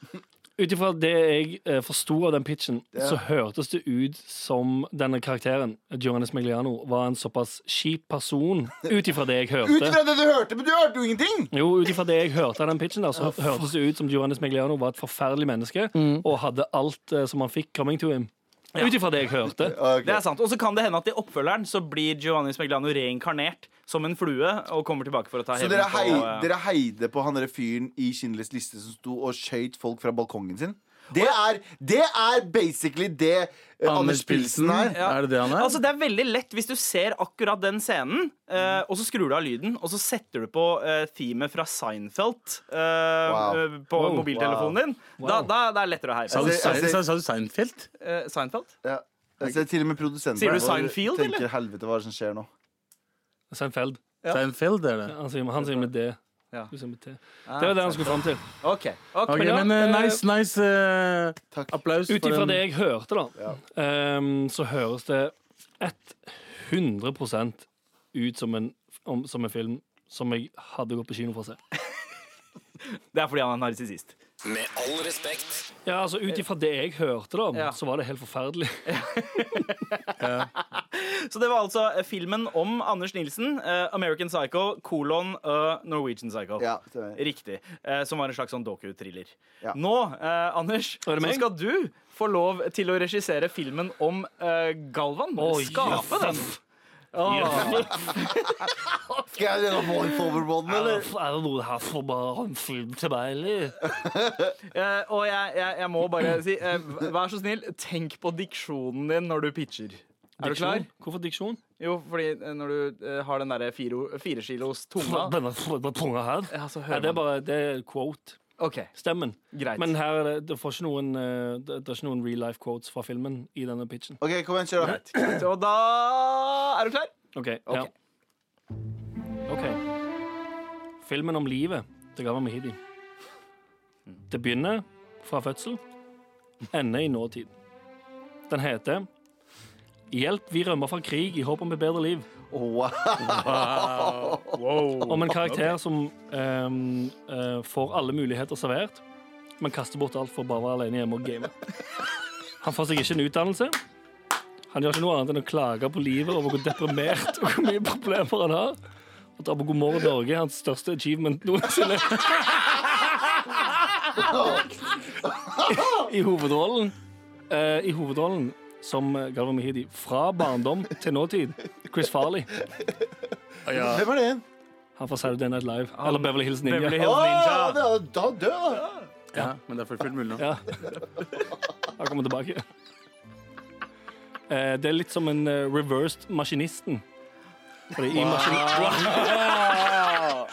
Speaker 5: Ut ifra det jeg eh, forsto av den pitchen, så hørtes det ut som denne karakteren, Giovanni Smigliano, var en såpass kjip person. Ut ifra det jeg
Speaker 3: Ut
Speaker 5: hørte.
Speaker 3: fra det du hørte, men du hørte jo ingenting!
Speaker 5: Jo, ut ifra det jeg hørte av den pitchen, der, så hørtes det ut som Giovanni Smigliano var et forferdelig menneske og hadde alt eh, som han fikk coming to him. Ut ifra det jeg hørte.
Speaker 3: Ok.
Speaker 2: Det er sant, Og så kan det hende at i oppfølgeren så blir Giovanni Smegliano reinkarnert som en flue og kommer tilbake for å ta
Speaker 3: Så dere,
Speaker 2: hevn på,
Speaker 3: hei,
Speaker 2: eh,
Speaker 3: dere heide på han der fyren i Schindlers liste som sto og skøyt folk fra balkongen sin? Det er, det er basically det eh, Anders Pilsen er.
Speaker 2: Ja.
Speaker 6: Er det det han er?
Speaker 2: Altså Det er veldig lett hvis du ser akkurat den scenen, eh, og så skrur du av lyden, og så setter du på eh, themet fra Seinfeld eh, eh, på
Speaker 5: Wow.
Speaker 2: mobiltelefonen din. Da, da det er det lettere å heie.
Speaker 6: Sa du,
Speaker 3: Altså,
Speaker 6: Sein-
Speaker 3: altså-
Speaker 6: sa- sa du Seinfeld?
Speaker 2: Eh, Seinfeld?
Speaker 3: Ja. Jeg ser til og med produsenten
Speaker 2: Sier du
Speaker 3: her, og
Speaker 2: Seinfeld,
Speaker 3: tenker,
Speaker 2: eller?
Speaker 3: Helvete, hva er det som skjer nå?
Speaker 5: Seinfeld.
Speaker 2: Ja.
Speaker 6: Seinfeld er det.
Speaker 5: Han sier, han sier med det.
Speaker 2: Ja.
Speaker 5: Du sier med T. Det var det han skulle fram til.
Speaker 2: OK. ok.
Speaker 6: Ok,
Speaker 5: Men ja,
Speaker 6: men eh,
Speaker 5: eh,
Speaker 6: nice, nice eh,
Speaker 3: Takk.
Speaker 6: applaus.
Speaker 5: Ut
Speaker 6: for
Speaker 5: ifra
Speaker 6: en-
Speaker 5: det jeg hørte, da, ehm, så høres det 100 ut som en, om, som en film som jeg hadde gått på kino for å se.
Speaker 2: Det er fordi han er narsissist.
Speaker 1: Med all respekt.
Speaker 5: Ja, altså Ut ifra det jeg hørte, da,
Speaker 2: Ja.
Speaker 5: så var det helt forferdelig.
Speaker 2: Så det var altså eh, filmen om Anders Nilsen, eh, 'American Psycho', kolon eh, 'Norwegian Psycho'.
Speaker 3: Ja, stemmer.
Speaker 2: Riktig. Eh, som var en slags sånn doku-thriller.
Speaker 3: Ja.
Speaker 2: Nå, eh, Anders, så
Speaker 5: meg?
Speaker 2: skal du få lov til å regissere filmen om eh, Galvan. Skape den! Åh.
Speaker 3: Skal jeg gjøre Roy Foverbond, eller?
Speaker 5: Er det noe her for bare en film til meg, eller?
Speaker 2: Eh, og jeg, jeg, jeg må bare si, eh, vær så snill, tenk på diksjonen din når du pitcher. Er du klar?
Speaker 5: Hvorfor diksjon?
Speaker 2: Jo, fordi eh, når du eh, har den derre fire, fire kilos tunga
Speaker 5: Denne denne tunga her?
Speaker 2: Ja, så
Speaker 5: Nei,
Speaker 2: hører
Speaker 5: det er
Speaker 2: man.
Speaker 5: bare det er quote.
Speaker 2: OK,
Speaker 5: Stemmen.
Speaker 2: greit.
Speaker 5: Men her er det, det får ikke noen eh, Det det er ikke noen real life quotes fra filmen i denne pitchen.
Speaker 3: OK, kom igjen, kjør. da.
Speaker 2: Så da Er du klar?
Speaker 5: Ok,
Speaker 2: Ok.
Speaker 5: ja. Ok. Filmen om livet til Gawa Mehidi. Det begynner fra fødsel, ender i nåtid. Den heter Hjelp, vi rømmer fra krig i håp om et bedre liv.
Speaker 3: Wow.
Speaker 5: Om en karakter som ehm, eh, får alle muligheter servert, men kaster bort alt for å bare å være alene hjemme og game. Han får seg ikke en utdannelse. Han gjør ikke noe annet enn å klage på livet over hvor deprimert og hvor mye problemer han har. Og drar på God morgen Norge, hans største achievement noensinne. I hovedrollen eh, I hovedrollen som Galvan Mehidi. Fra barndom til nåtid. Chris Farley.
Speaker 3: Hvem er det igjen?
Speaker 5: Han fra Saturday Night Live. Eller Beverly Hills Ninja.
Speaker 2: Beverly
Speaker 3: Å,
Speaker 2: Hills Ninja.
Speaker 3: det er- da dør da.
Speaker 6: Ja, men det er fullt mulig nå.
Speaker 5: Ja. Han kommer tilbake. Eh, Det er litt som en eh, reversed maskinisten. Fordi i, maskin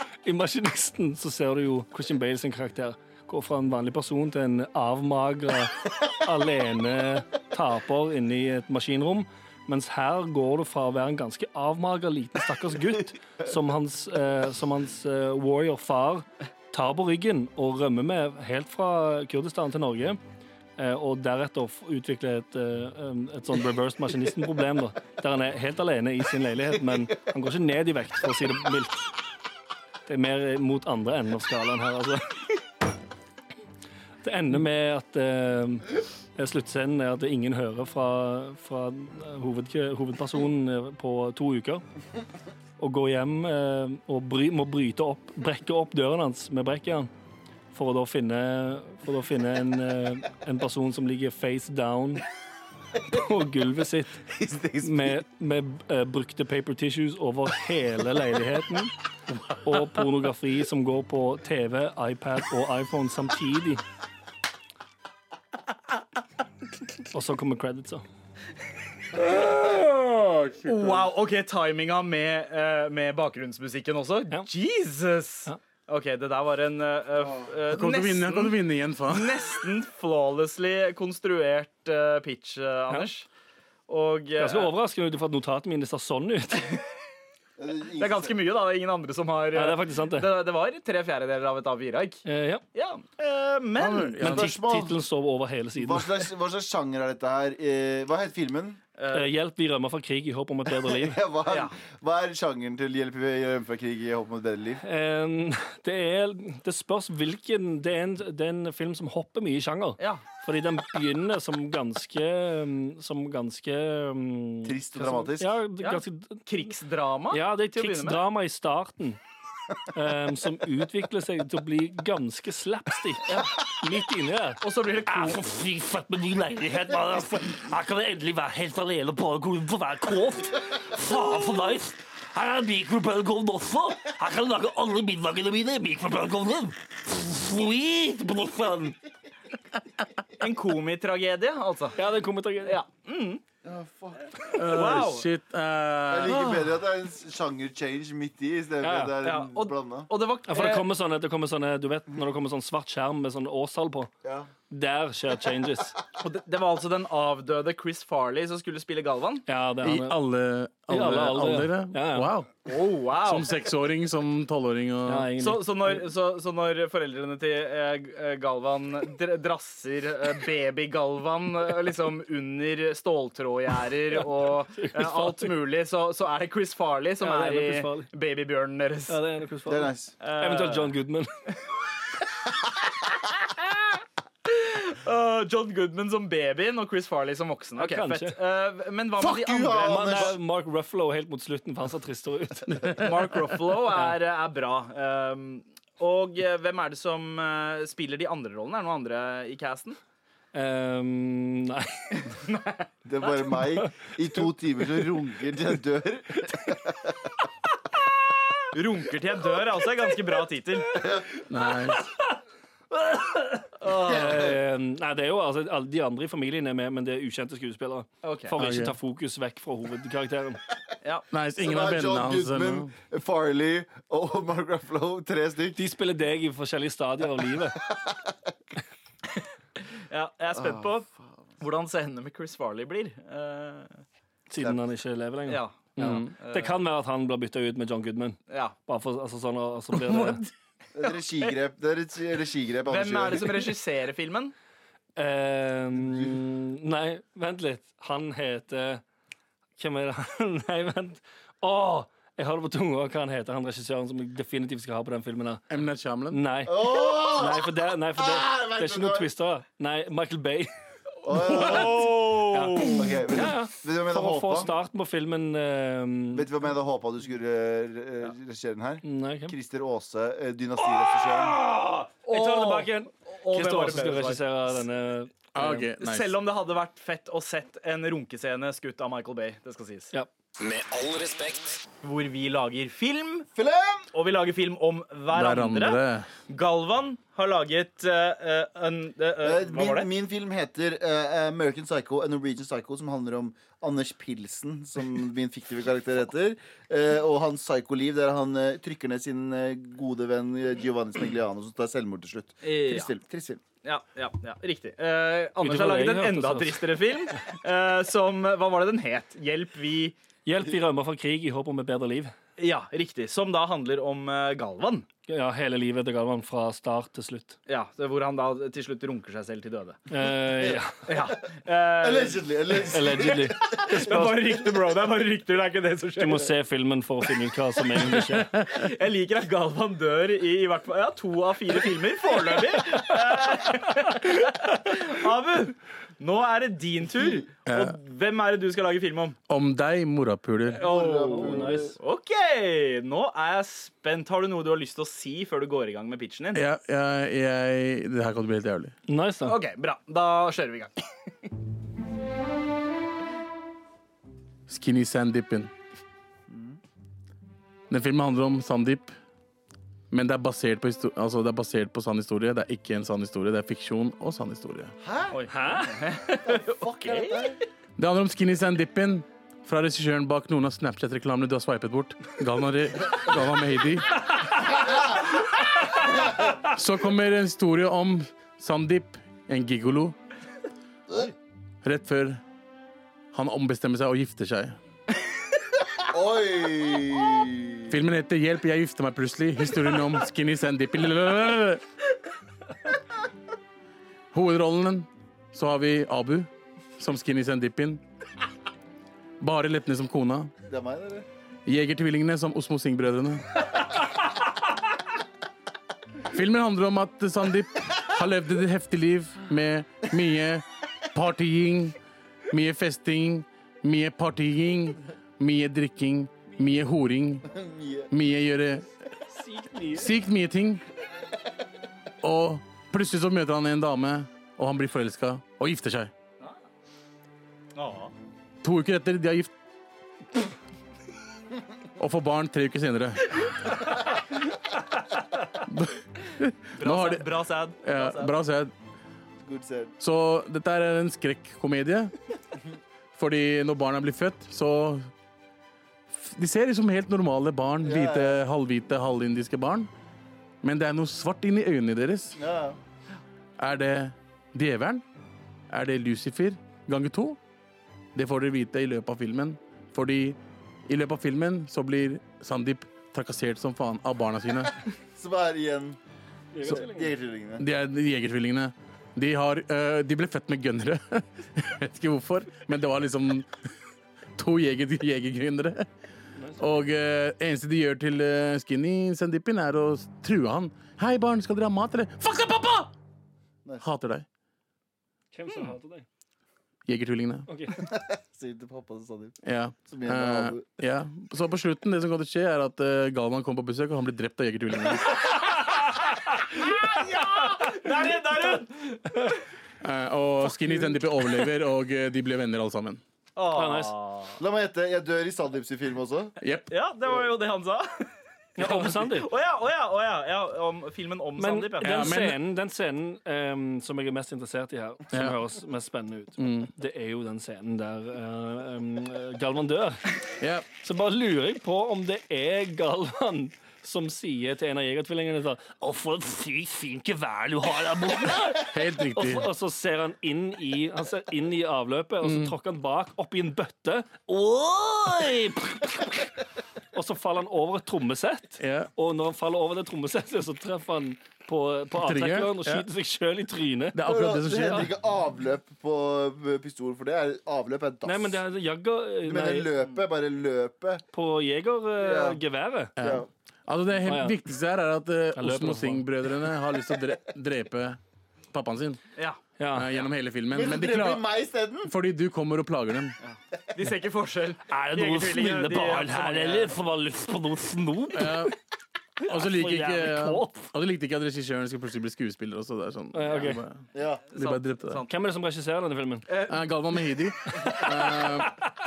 Speaker 5: I maskinisten så ser du jo Christian Bale sin karakter gå fra en vanlig person til en avmagra, alene taper inni et maskinrom. Mens her går du fra å være en ganske avmagra liten stakkars gutt som hans, eh, som hans eh, warrior far tar på ryggen og rømmer med helt fra Kurdistan til Norge. Eh, og deretter f- utvikle et, eh, um, et sånn reversed maskinisten-problem, da. Der han er helt alene i sin leilighet, men han går ikke ned i vekt, for å si det mildt. Det er mer eh, mot andre enden av skalaen her, altså. Det ender med at eh, sluttscenen er at ingen hører fra, fra eh, hoved, hovedpersonen eh, på to uker. Og går hjem eh, og bry, må bryte opp, brekke opp døren hans med brekkjern for å da finne, for å da finne en, eh, en person som ligger face down på gulvet sitt med, med eh, brukte paper tissues over hele leiligheten. Og pornografi som går på TV, iPad og iPhone samtidig. Og så kommer creditsa.
Speaker 2: Wow, OK, timinga med, eh, med bakgrunnsmusikken også.
Speaker 5: Ja.
Speaker 2: Jesus!
Speaker 5: Ja.
Speaker 2: OK, det der var en eh, eh,
Speaker 6: Kom til å vinne, kom til å vinne igjen, faen.
Speaker 2: nesten flawlessly konstruert eh, pitch, eh, Anders. Og eh,
Speaker 5: Ganske overraskende ut ifra at notatene mine ser sånn ut.
Speaker 2: det er ganske mye, da. Det er ingen andre som har eh,
Speaker 5: Ja, det er faktisk sant, det.
Speaker 2: det, det var tre fjerdedeler av et A4-ark.
Speaker 5: Eh, ja.
Speaker 2: Ja, eh, men
Speaker 6: Ja,
Speaker 5: Men
Speaker 6: men-
Speaker 5: tit-
Speaker 3: Spørsmål.
Speaker 5: tittelen står over hele siden.
Speaker 3: Hva slags, hva slags sjanger er dette her? Eh, Hva het filmen?
Speaker 2: Eh,
Speaker 5: Eh, Hjelp, vi rømmer fra krig i håp om et bedre liv.
Speaker 3: Hva er,
Speaker 2: Ja.
Speaker 3: hva er sjangeren til Hjelp i hjemme fra krig i håp om et bedre liv?
Speaker 5: Eh, det, er, det spørs hvilken det er, en, det er en film som hopper mye i sjanger.
Speaker 2: Ja.
Speaker 5: Fordi den begynner som ganske um, Som ganske um,
Speaker 3: Trist og dramatisk.
Speaker 5: Ja, ganske,
Speaker 2: Krigsdrama?
Speaker 5: ja det er et
Speaker 2: Til å begynne med.
Speaker 5: krigsdrama i starten. um, som utvikler seg til å bli ganske slapstick midt inni der.
Speaker 2: Og så blir det
Speaker 5: Ah,
Speaker 2: ko-
Speaker 5: for fy, fuck med ny leilighet. man. Altså, Her kan jeg endelig være helt alene på en kone for hver kåt. Faen for nice. Her er mikrobølgeovn også. Her kan jeg lage alle middagene mine i mikrobølgeovnen. Sweet bluffen.
Speaker 2: en komitragedie, altså.
Speaker 5: Ja, det kommer til å
Speaker 2: Ja.
Speaker 6: Eh,
Speaker 2: Wow.
Speaker 6: Shit. eh,
Speaker 3: Jeg liker bedre at det er en sjanger-change midt i, istedenfor
Speaker 5: Ja,
Speaker 3: at det er
Speaker 2: Ja,
Speaker 3: en
Speaker 2: og,
Speaker 3: blanda.
Speaker 2: og det var eh,
Speaker 5: Ja, for det kommer sånne, det kommer sånne Du vet når det kommer sånn svart skjerm med sånn årstall på?
Speaker 3: Ja.
Speaker 5: Der skjer changes.
Speaker 2: Og det, det var altså den avdøde Chris Farley som skulle spille Galvan.
Speaker 5: Ja, det
Speaker 6: I
Speaker 5: er han.
Speaker 6: alle, alle,
Speaker 5: alle aldre, ja.
Speaker 6: aldre?
Speaker 5: Ja, ja.
Speaker 6: Wow.
Speaker 2: Oh, wow.
Speaker 6: Som seksåring, som tolvåring og
Speaker 5: Ja, egentlig.
Speaker 2: så, så, når, så, så når foreldrene til eh, G- eh, Galvan dr drasser eh, baby-Galvan eh, liksom under ståltrådgjerder og eh, alt mulig, så, så er det Chris Farley som
Speaker 5: Ja, det er Chris
Speaker 2: er
Speaker 5: Farley.
Speaker 2: i babybjørnen deres.
Speaker 5: Ja, det er noe
Speaker 3: Det er
Speaker 5: svart.
Speaker 3: nice.
Speaker 5: Eventuelt John Goodman.
Speaker 2: Åh, John Goodman som babyen og Chris Farley som voksen. Ok,
Speaker 5: Ja, kanskje.
Speaker 2: fett. Eh, men hva
Speaker 3: Fuck
Speaker 2: med de
Speaker 3: you,
Speaker 2: andre?
Speaker 3: Anders!
Speaker 5: Men det er Mark Ruffalo helt mot slutten, for han ser tristere ut.
Speaker 2: Mark Ruffalo er, eh, er bra. Um, og eh, hvem er det som eh, spiller de andre rollene? Er det noen andre i casten?
Speaker 5: Ehm, nei.
Speaker 3: Det er bare meg. I to timer så runker til jeg dør.
Speaker 2: 'Runker til jeg dør' er altså en ganske bra tittel.
Speaker 6: Nei.
Speaker 5: Ehm, nei, det er jo altså, alle De andre i familien er med, men det er ukjente skuespillere.
Speaker 2: Ok.
Speaker 5: For å
Speaker 6: Ok.
Speaker 5: ikke ta fokus vekk fra hovedkarakteren.
Speaker 2: Ja.
Speaker 6: Nei, så
Speaker 3: Så
Speaker 6: ingen
Speaker 3: det
Speaker 6: av
Speaker 3: er
Speaker 6: vennene
Speaker 3: John
Speaker 6: hans eller
Speaker 3: Goodman,
Speaker 6: noe.
Speaker 3: Farley og Mark Ruffalo. Tre stykk.
Speaker 5: De spiller deg i forskjellige stadier av livet.
Speaker 2: Ja, jeg er spent på hvordan scenene med Chris Farley blir. Eh,
Speaker 5: Siden han ikke lever lenger.
Speaker 2: ja. ja.
Speaker 5: Det kan være at han blir bytta ut med John Goodman.
Speaker 2: ja.
Speaker 5: Bare for, altså, sånn, og så blir det
Speaker 3: Det er et regigrep. Det er et regigrep Anders
Speaker 2: Hvem er det
Speaker 3: gjør.
Speaker 2: som regisserer filmen?
Speaker 5: Ehm, Nei, vent litt. Han heter Hvem er det han Nei, vent. Å! Jeg har det på tunga hva han heter, han regissøren som jeg definitivt skal ha på den filmen. her
Speaker 6: M. Night Shyamalan.
Speaker 5: Nei.
Speaker 3: Åh!
Speaker 5: Nei, for det, nei, for det,
Speaker 3: Ah, jeg vet
Speaker 5: det er
Speaker 3: det
Speaker 5: ikke noe
Speaker 3: nå.
Speaker 5: twister. Nei, Michael Bay.
Speaker 3: Ok, vet, du-
Speaker 5: Ja, ja.
Speaker 3: vet du hva jeg hadde
Speaker 5: For å få
Speaker 3: håpa?
Speaker 5: starten på filmen eh,
Speaker 3: Vet du hvem jeg hadde håpa du skulle eh, regissere den her?
Speaker 5: Nei, hvem?
Speaker 3: Christer Aase, eh, dynastiregissøren.
Speaker 5: Jeg tar det tilbake igjen.
Speaker 2: Og hvem
Speaker 5: Christer
Speaker 2: var
Speaker 5: Aase
Speaker 2: det
Speaker 5: skal
Speaker 2: bedre svar?
Speaker 5: regissere denne.
Speaker 6: Ah, ok, nice.
Speaker 2: Selv om det hadde vært fett å sett en runkescene skutt av Michael Bay. Det skal sies.
Speaker 5: Ja.
Speaker 1: Med all respekt.
Speaker 2: Hvor vi lager film,
Speaker 3: Film!
Speaker 2: og vi lager film om hverandre.
Speaker 6: Hverandre.
Speaker 2: Galvan har laget eh, eh, en, eh, eh,
Speaker 3: Eh,
Speaker 2: Hva var det?
Speaker 3: Min, min film heter eh, American Psycho and Norwegian Psycho, som handler om Anders Pilsen, som min fiktive karakter heter, eh, og hans psykoliv, der han eh, trykker ned sin eh, gode venn eh, Giovanni Smigliano, som tar selvmord til slutt.
Speaker 2: Ja.
Speaker 3: Trist film. Trist film.
Speaker 2: Ja, ja, ja, riktig. Eh, Anders
Speaker 5: Utover
Speaker 2: har laget
Speaker 5: det,
Speaker 2: en
Speaker 5: jeg
Speaker 2: enda
Speaker 5: hørte, så-
Speaker 2: tristere film, eh, som Hva var det den het? Hjelp, vi
Speaker 5: Hjelp, vi rømmer fra krig i håp om et bedre liv.
Speaker 2: Ja, riktig. Som da handler om eh, Galvan.
Speaker 5: Ja, hele livet til Galvan fra start til slutt.
Speaker 2: Ja, så Hvor han da til slutt runker seg selv til døde.
Speaker 5: Eh, ja.
Speaker 2: Ja. Eh,
Speaker 3: Allegedly. allegedly.
Speaker 5: Allegedly.
Speaker 2: det er bare rykter, bro. Det er bare rykter, det er ikke det som
Speaker 5: Du
Speaker 2: skjer.
Speaker 5: må se filmen for å finne ut hva som egentlig skjer.
Speaker 2: Jeg liker at Galvan dør i, i hvert fall ja, to av fire filmer foreløpig. Eh, Abu, nå er det din tur. Og hvem er det du skal lage film om?
Speaker 6: Om deg, morapuler.
Speaker 2: Oh,
Speaker 5: nice.
Speaker 2: OK, nå er jeg spent. Har du noe du har lyst til å si før du går i gang med pitchen din?
Speaker 6: Jeg, jeg, jeg, det her kan bli helt jævlig.
Speaker 5: Nice, da.
Speaker 2: OK, bra. Da kjører vi i gang.
Speaker 6: Skinny Sandipen. Den filmen handler om Sandeep, men det er basert på, histo- altså, det er basert på sann historie. Det er ikke en sann historie, det er fiksjon og sann historie.
Speaker 3: Fuck, er dette?
Speaker 6: Det handler om Skinny Sandipen fra regissøren bak noen av Snapchat-reklamene du har swipet bort. Galvan, Re- Galvan Mehidi. Så kommer en historie om Sandeep, en gigolo, rett før han ombestemmer seg og gifter seg.
Speaker 3: Oi!
Speaker 6: Filmen heter 'Hjelp, jeg gifter meg plutselig'. Historien om Skinny Sandeep. Hovedrollen så har vi Abu som Skinny Sandeepin. Bare leppene som kona.
Speaker 3: Det er meg, eller?
Speaker 6: Jegertvillingene som Osmo Singh-brødrene. Filmen handler om at Sandeep har levd et heftig liv med mye partying, mye festing, mye partying, mye drikking, mye horing, mye gjøre Sykt mye ting. Og plutselig så møter han en dame, og han blir forelska og gifter seg. To uker etter de er gift og får barn tre uker senere. Nå har de,
Speaker 2: Bra sad.
Speaker 6: ja, bra sett.
Speaker 3: Good said.
Speaker 6: Så dette er en skrekkomedie. Fordi når barna blir født, så f- De ser liksom helt normale barn.
Speaker 3: Ja, ja.
Speaker 6: Hvite, halvhvite, halvindiske barn. Men det er noe svart inni øynene deres.
Speaker 3: Ja.
Speaker 6: Er det djevelen? Er det Lucifer ganger to? Det får dere vite i løpet av filmen. Fordi i løpet av filmen så blir Sandeep trakassert som faen av barna sine.
Speaker 3: Som er igjen
Speaker 5: Jegertvillingene.
Speaker 3: jegertvillingene.
Speaker 6: De er jegertvillingene. De, har, øh, de ble født med gønnere. Jeg vet ikke hvorfor, men det var liksom to jeger, jegergønnere. Og øh, eneste de gjør til øh, Skinny Sandipin, er å true han. 'Hei, barn, skal dere ha mat, eller?' 'Fuck deg, pappa!'
Speaker 3: Nice.
Speaker 6: Hater deg.
Speaker 5: Hvem som hater deg?
Speaker 6: Jegertvillingene.
Speaker 5: Ok.
Speaker 3: Sier til pappa til Sandeep.
Speaker 6: Ja.
Speaker 3: Som igjen er
Speaker 6: Eh,
Speaker 3: han-
Speaker 6: ja. Så på slutten, det som kommer til å skje, er at eh, Galvan kommer på besøk, og han blir drept av jegertvillingene.
Speaker 2: Der er der er hun!
Speaker 6: Eh, og Skinny Sandipin overlever, og eh, de blir venner alle sammen.
Speaker 5: Ja, nice.
Speaker 3: La meg gjette. Jeg dør i Sandeeps film også.
Speaker 6: Jepp.
Speaker 2: Ja, det var jo det han sa.
Speaker 5: Ja, Ove Sandeep.
Speaker 2: Å ja, å ja, å ja, ja. Om filmen om
Speaker 5: Men
Speaker 2: Sandeep.
Speaker 5: den
Speaker 2: Ja.
Speaker 6: Ja, men-
Speaker 5: scenen, den scenen ehm, som jeg er mest interessert i her, som
Speaker 6: Ja.
Speaker 5: høres mest spennende ut, det er jo den scenen der eh, ehm, Galvan dør.
Speaker 6: Jepp.
Speaker 5: Så bare lurer jeg på om det er Galvan som sier til en av jegertvillingene sånn Å, for et sykt fint gevær du har der borte!
Speaker 6: Helt
Speaker 5: Og,
Speaker 6: riktig.
Speaker 5: så- og så ser han inn i Han ser inn i avløpet, og så tråkker han bak oppi en bøtte. Oi! Og så faller han over et trommesett.
Speaker 6: Ja.
Speaker 5: Og når han faller over det trommesettet, så treffer han på, på
Speaker 6: Triggeren,
Speaker 5: avtrekkeren og
Speaker 6: ja.
Speaker 5: skyter seg sjøl i trynet.
Speaker 6: Det er akkurat det som
Speaker 3: Det
Speaker 6: skjer.
Speaker 3: heter ikke avløp på eh, pistol, for det er avløp er dass.
Speaker 5: Nei, men det er jagger
Speaker 3: Du
Speaker 5: Nei,
Speaker 3: mener løpet? Bare løpet?
Speaker 5: på
Speaker 3: Ja.
Speaker 5: jegergeværet.
Speaker 3: Ja.
Speaker 6: Altså Det helt
Speaker 5: Å, ja.
Speaker 6: viktigste her er at eh,
Speaker 5: Jeg løper
Speaker 6: Osmo
Speaker 5: nå, faen.
Speaker 6: Singh-brødrene har lyst til å dre drepe pappaen sin
Speaker 2: Ja.
Speaker 5: Ja.
Speaker 6: eh, gjennom hele filmen.
Speaker 3: Men
Speaker 6: Men
Speaker 3: så
Speaker 6: de
Speaker 3: dreper de
Speaker 6: klarer
Speaker 3: meg isteden!
Speaker 6: fordi du kommer og plager dem.
Speaker 2: De ser ikke forskjell.
Speaker 5: Er det noen
Speaker 2: Jegertvillinger,
Speaker 5: snille
Speaker 2: de-
Speaker 5: barn
Speaker 2: så
Speaker 5: her,
Speaker 2: mange-
Speaker 5: eller? Som har lyst på noe snop?
Speaker 6: Eh, og så liker
Speaker 5: For
Speaker 6: ikke
Speaker 5: jævlig
Speaker 6: Og
Speaker 5: kåt.
Speaker 6: så likte ikke at regissøren skal plutselig bli skuespiller også. Det er sånn,
Speaker 5: Ja, ok.
Speaker 6: de bare,
Speaker 3: Ja.
Speaker 6: de bare drepte deg.
Speaker 2: sant.
Speaker 5: Hvem er det som regisserer denne filmen?
Speaker 6: Eh, Galvan Mehidi. eh,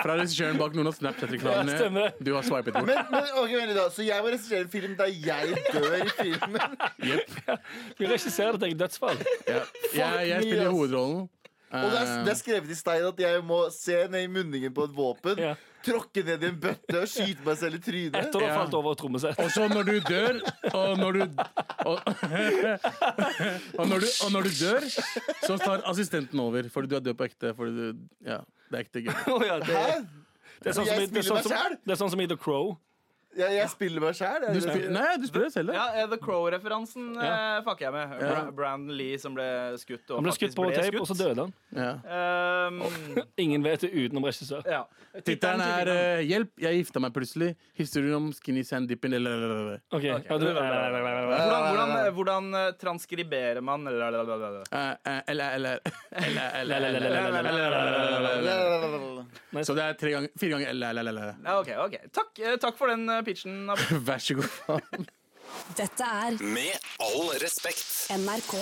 Speaker 6: fra regissøren bak noen av
Speaker 5: Ja,
Speaker 6: Snapchat-reklamene
Speaker 5: stemmer.
Speaker 6: du har swipet bort.
Speaker 3: Men, men ok, vent litt da. Så jeg må regissere en film der jeg dør i filmen?
Speaker 5: Du regisserer ditt eget dødsfall.
Speaker 6: Ja. Jeg, jeg
Speaker 3: me,
Speaker 6: spiller
Speaker 3: ass.
Speaker 6: hovedrollen.
Speaker 3: Og det er,
Speaker 6: Eh,
Speaker 3: det er skrevet i stein at jeg må se ned i munningen på et våpen,
Speaker 5: Ja.
Speaker 3: tråkke ned i en bøtte og skyte meg selv i trynet.
Speaker 5: Etter å ha
Speaker 6: Ja.
Speaker 5: falt over et trommesett.
Speaker 6: Og så når du dør Og når du og, og, når du, og når du dør, så tar assistenten over. Fordi du er død på ekte. Fordi du, ja, det er ekte gøy.
Speaker 5: Å ja, det,
Speaker 3: Hæ?
Speaker 5: det, er sånn som, i-
Speaker 3: Jeg
Speaker 5: det, er sånn
Speaker 3: spiller meg
Speaker 5: som,
Speaker 3: selv.
Speaker 5: det er sånn som i The Crow.
Speaker 3: Jeg, jeg spiller meg sjæl.
Speaker 6: Du spiller, nei, du spiller selv, ja.
Speaker 2: Ja, eh, The Crow-referansen
Speaker 6: Ja.
Speaker 2: eh, fucker jeg med. Bra Brandon Lee som ble skutt. Og
Speaker 5: Han ble skutt
Speaker 2: faktisk
Speaker 5: på tape, og så døde han.
Speaker 6: ja.
Speaker 2: Ehm,
Speaker 5: Ingen vet det utenom regissør.
Speaker 2: ja.
Speaker 6: Tittelen
Speaker 2: til
Speaker 6: er
Speaker 2: filmen.
Speaker 6: eh, 'Hjelp, jeg gifta meg plutselig'. Historien om Skinny Sand Dippin. lalalala.
Speaker 5: Ok, ja, du,
Speaker 2: Hvordan, hvordan, hvordan eh, transkriberer man lalalala?
Speaker 6: Eh, eh, Eller eller eller, eller, eller, eller, eller.
Speaker 3: Nei,
Speaker 6: Så det er tre ganger, fire ganger eller, eller, eller.
Speaker 2: Ja, OK. ok Takk, eh, takk for den eh, pitchen. Abu.
Speaker 6: Vær så god, faen.
Speaker 7: Dette er
Speaker 1: Med all respekt.
Speaker 7: NRK.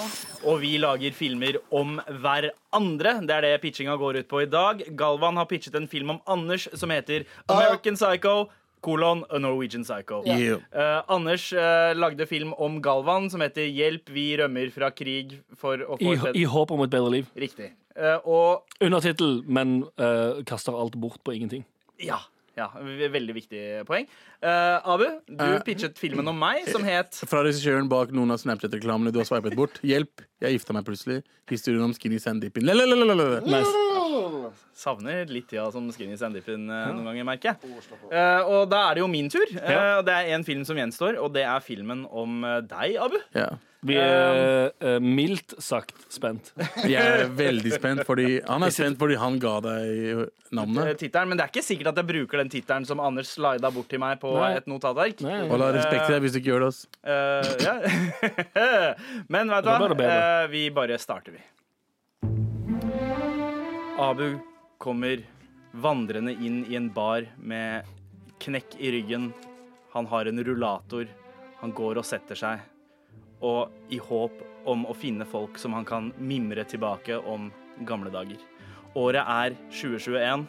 Speaker 2: Og vi lager filmer om hverandre. Det er det pitchinga går ut på i dag. Galvan har pitchet en film om Anders som heter American Psycho. Kolon A Norwegian Psycho.
Speaker 6: Yeah.
Speaker 2: Eh, Anders eh, lagde film om Galvan som heter 'Hjelp, vi rømmer fra krig for å få
Speaker 5: I,
Speaker 2: et
Speaker 5: I
Speaker 2: bedre
Speaker 5: håp om et bedre liv.
Speaker 2: Riktig. Eh, og
Speaker 5: Undertittel, men eh, kaster alt bort på ingenting.
Speaker 2: ja. ja ve- veldig viktig poeng. Eh, Abu, du pitchet filmen om meg som het
Speaker 6: Fra regissøren bak noen av Snapchat-reklamene du har sveipet bort. 'Hjelp, Jeg gifta meg plutselig. Historien om Skinny Sandeepin. Lelelelelele.
Speaker 2: Savner litt tida som skinny sandipen eh, noen ganger, merker jeg. Eh, og da er det jo min tur. Eh, og det er en film som gjenstår, og det er filmen om eh, deg, Abu.
Speaker 6: Ja.
Speaker 5: Vi er eh, mildt sagt spent.
Speaker 6: Jeg er veldig spent, fordi han er spent fordi han ga deg
Speaker 2: eh,
Speaker 6: navnet.
Speaker 2: Tittelen, men det er ikke sikkert at jeg bruker den tittelen som Anders slida bort til meg på
Speaker 5: Nei.
Speaker 2: et notatark.
Speaker 5: Nei.
Speaker 6: Og la respekt til deg hvis du ikke gjør det. ass.
Speaker 2: Eh, ja. Men vet du
Speaker 5: Da ble
Speaker 2: hva?
Speaker 5: det bedre.
Speaker 2: Eh, vi bare starter, vi. Abu kommer vandrende inn i en bar med knekk i ryggen. Han har en rullator. Han går og setter seg. Og i håp om å finne folk som han kan mimre tilbake om gamle dager. Året er 2021.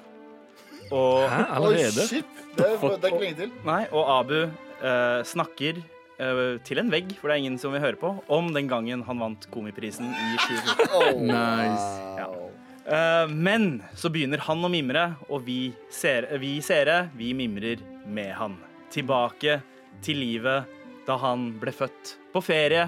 Speaker 2: Og
Speaker 5: Hæ, allerede?
Speaker 3: shit! Det er, det er ikke lenge til.
Speaker 2: Nei, og Abu eh, snakker eh, til en vegg, for det er ingen som vil høre på, om den gangen han vant Komiprisen i 2014.
Speaker 6: Nice.
Speaker 2: Eh, men så begynner han å mimre, og vi, ser, vi seere, vi mimrer med han. Tilbake til livet da han ble født på ferie.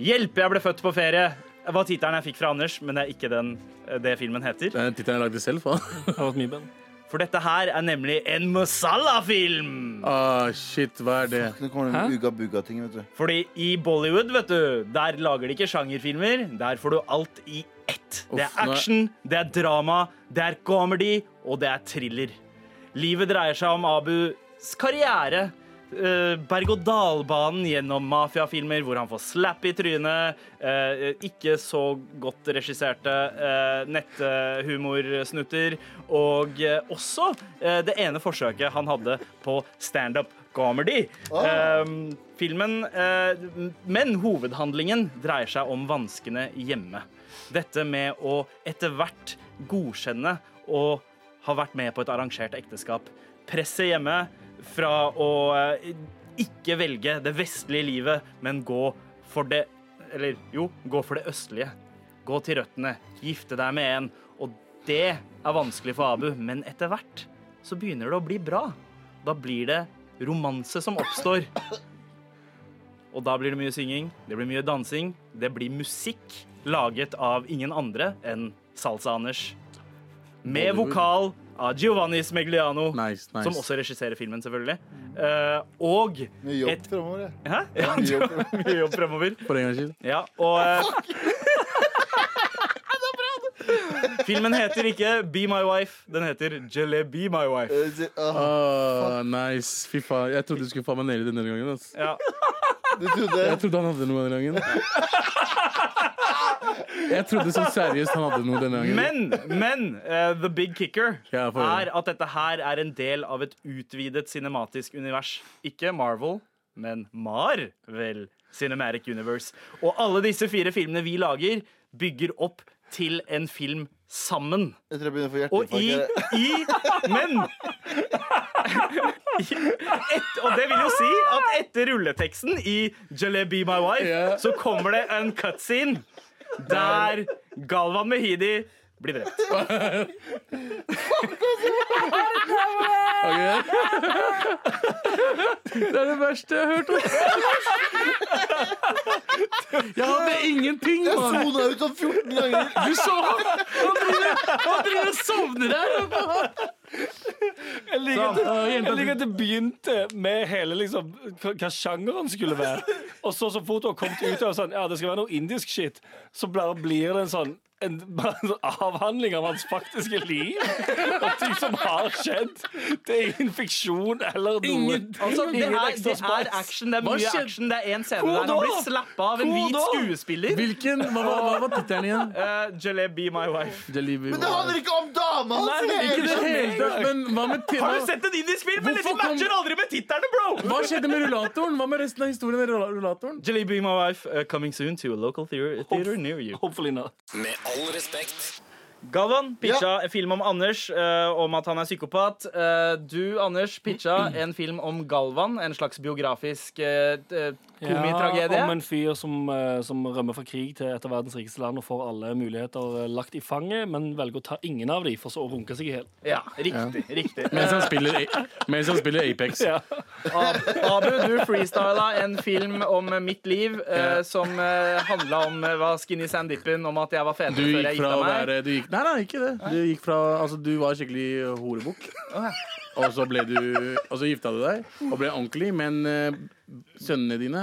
Speaker 2: Hjelpe, jeg ble født på ferie! Det var tittelen jeg fikk fra Anders, men det er ikke den eh, det filmen heter.
Speaker 6: Den tittelen jeg lagde selv, faen.
Speaker 5: Det har vært mye bedre.
Speaker 2: For dette her er nemlig en masala-film!
Speaker 6: Ah, shit, hva er det?
Speaker 3: Nå kommer den uga-buga-tingen, vet du.
Speaker 2: Fordi i Bollywood, vet du, der lager de ikke sjangerfilmer. Der får du alt i ett. Det er
Speaker 6: Uff, nå-
Speaker 2: action, det er drama, det er comedy, og det er thriller. Livet dreier seg om Abus karriere. eh, Berg-og-dal-banen gjennom mafiafilmer hvor han får slapp i trynet. eh, ikke så godt regisserte eh, netthumorsnutter. Og eh, også eh, det ene forsøket han hadde på standup comedy. Eh, filmen eh, Men hovedhandlingen dreier seg om vanskene hjemme. Dette med å etter hvert godkjenne og har vært med på et arrangert ekteskap. Presset hjemme fra å eh, ikke velge det vestlige livet, men gå for det Eller jo, gå for det østlige. Gå til røttene, gifte deg med en. Og det er vanskelig for Abu, men etter hvert så begynner det å bli bra. Da blir det romanse som oppstår. Og da blir det mye synging, det blir mye dansing, det blir musikk laget av ingen andre enn Salsa-Anders. Med vokal av ah, Giovanni Smegliano,
Speaker 6: Nice, nice.
Speaker 2: som også regisserer filmen, selvfølgelig. Eh, og
Speaker 3: Mye
Speaker 2: Et-
Speaker 3: jobb fremover, jeg.
Speaker 2: Hæ? Ja,
Speaker 3: Mye jobb fremover.
Speaker 2: mye jobb fremover.
Speaker 6: For en gangs skyld.
Speaker 2: Ja, og eh, Filmen heter ikke Be My Wife, den heter Jelly Be My Wife.
Speaker 3: Eh, se- ah,
Speaker 6: Ah, nice. Fy faen. Jeg trodde du skulle faen meg ned i denne gangen. ass.
Speaker 2: Ja.
Speaker 3: Du trodde
Speaker 6: Jeg trodde han hadde noe denne gangen. Jeg trodde så seriøst han hadde noe denne gangen.
Speaker 2: Men, men eh, the big kicker
Speaker 6: Ja, få høre.
Speaker 2: er at dette her er en del av et utvidet cinematisk univers. Ikke Marvel, men Marvel Cinematic Universe. Og alle disse fire filmene vi lager, bygger opp til en film sammen.
Speaker 3: Jeg tror jeg begynner å få
Speaker 2: Og i,
Speaker 3: hjerteinfarkt. jeg.
Speaker 2: i Men I- et, Og det vil jo si at etter rulleteksten i Jaleh Be My Wife,
Speaker 6: Ja.
Speaker 2: så kommer det en cutscene der Galvan Mehidi blir drept.
Speaker 6: Ok. Det er det verste jeg har hørt. ass. Jeg hadde ingenting,
Speaker 3: Jeg
Speaker 6: mann.
Speaker 3: sona ut sånn 14 ganger!
Speaker 6: Du så han! Han driver han driver og sovner der.
Speaker 5: Jeg liker, at, jeg liker at det begynte med hele liksom, hva hva sjangeren skulle være. Og så så fort hun har kommet ut av sånn, ja, det skal være noe indisk shit, så bare blir det en sånn en, bare en sånn avhandling av hans faktiske liv. Og ting som har skjedd. Det er ingen fiksjon eller noe.
Speaker 6: Ingen-
Speaker 2: Altså, det,
Speaker 5: Ingen
Speaker 2: er,
Speaker 5: ekstra
Speaker 2: det er
Speaker 5: spice.
Speaker 2: action. Det er
Speaker 6: Hva
Speaker 2: mye
Speaker 6: skjedde?
Speaker 2: action. Det er én scene
Speaker 5: Hvor
Speaker 2: der han
Speaker 5: da?
Speaker 2: blir slappa av en
Speaker 5: Hvor
Speaker 2: hvit
Speaker 5: da?
Speaker 2: skuespiller.
Speaker 6: Hvilken? Hva, hva, hva var tittelen igjen?
Speaker 2: Uh, Jaleh Be My Wife.
Speaker 6: Jalebi.
Speaker 3: Men det handler ikke om dama
Speaker 5: Nei,
Speaker 3: hans! jeg.
Speaker 6: Ikke i det hele tatt. Men hva med tema?
Speaker 2: Har du sett en indisk film? Eller de
Speaker 6: Hvorfor kom-
Speaker 2: matcher aldri med titterne, bro!
Speaker 6: Hva skjedde med rullatoren? Hva med resten av historien? med rulla- rullatoren?
Speaker 2: Jaleh Be My Wife uh, coming soon to a local theater, theater near you.
Speaker 5: Hopefully not.
Speaker 1: Med all respekt.
Speaker 2: Galvan pitcha en film om Anders, eh, om at han er psykopat. Eh, du, Anders, pitcha en film om Galvan, en slags biografisk eh, t- eh, Komitragedie?
Speaker 5: om en fyr som, eh, som rømmer fra krig til et av verdens rikeste land og får alle muligheter eh, lagt i fanget, men velger å ta ingen av dem, for så å runke seg i hjel.
Speaker 2: Ja, riktig. riktig
Speaker 6: Mens han spiller, mens han spiller Apex.
Speaker 5: Ja.
Speaker 2: Ab- Abu, du freestyla en film om eh, mitt liv eh, som eh, handla om eh, hva Skinny Sandippen om at jeg var
Speaker 6: Du
Speaker 2: fetere før
Speaker 6: gikk
Speaker 2: jeg
Speaker 6: fra
Speaker 2: gifta
Speaker 6: å
Speaker 2: meg.
Speaker 6: være du gikk, Nei, nei, ikke det. Du gikk fra Altså, du var skikkelig horebukk. Og så ble du Og så gifta du deg og ble ordentlig, men eh, sønnene dine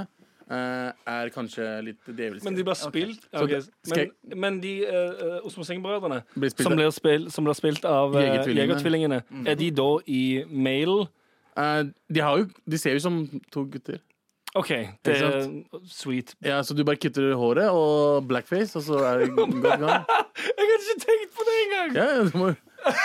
Speaker 6: eh, er kanskje litt djevelske.
Speaker 5: Men de blir spilt
Speaker 6: Så
Speaker 5: ok,
Speaker 6: det- skal jeg-
Speaker 5: Men, men de uh, Osmo Seng-brødrene,
Speaker 6: Blir spilt
Speaker 5: som,
Speaker 6: av-
Speaker 5: blir spill- som blir spilt av eh,
Speaker 6: Jegertvillingene.
Speaker 5: Jegertvillingene,
Speaker 2: Mm.
Speaker 5: er de da i male?
Speaker 6: Eh, de, har jo, de ser jo ut som to gutter.
Speaker 5: OK, det
Speaker 6: Ikke
Speaker 5: er sweet.
Speaker 6: Ja, Så du bare kutter håret og blackface, og så er det godt i gang.
Speaker 5: Jeg hadde ikke tenkt på det engang!
Speaker 6: Ja, ja, du må...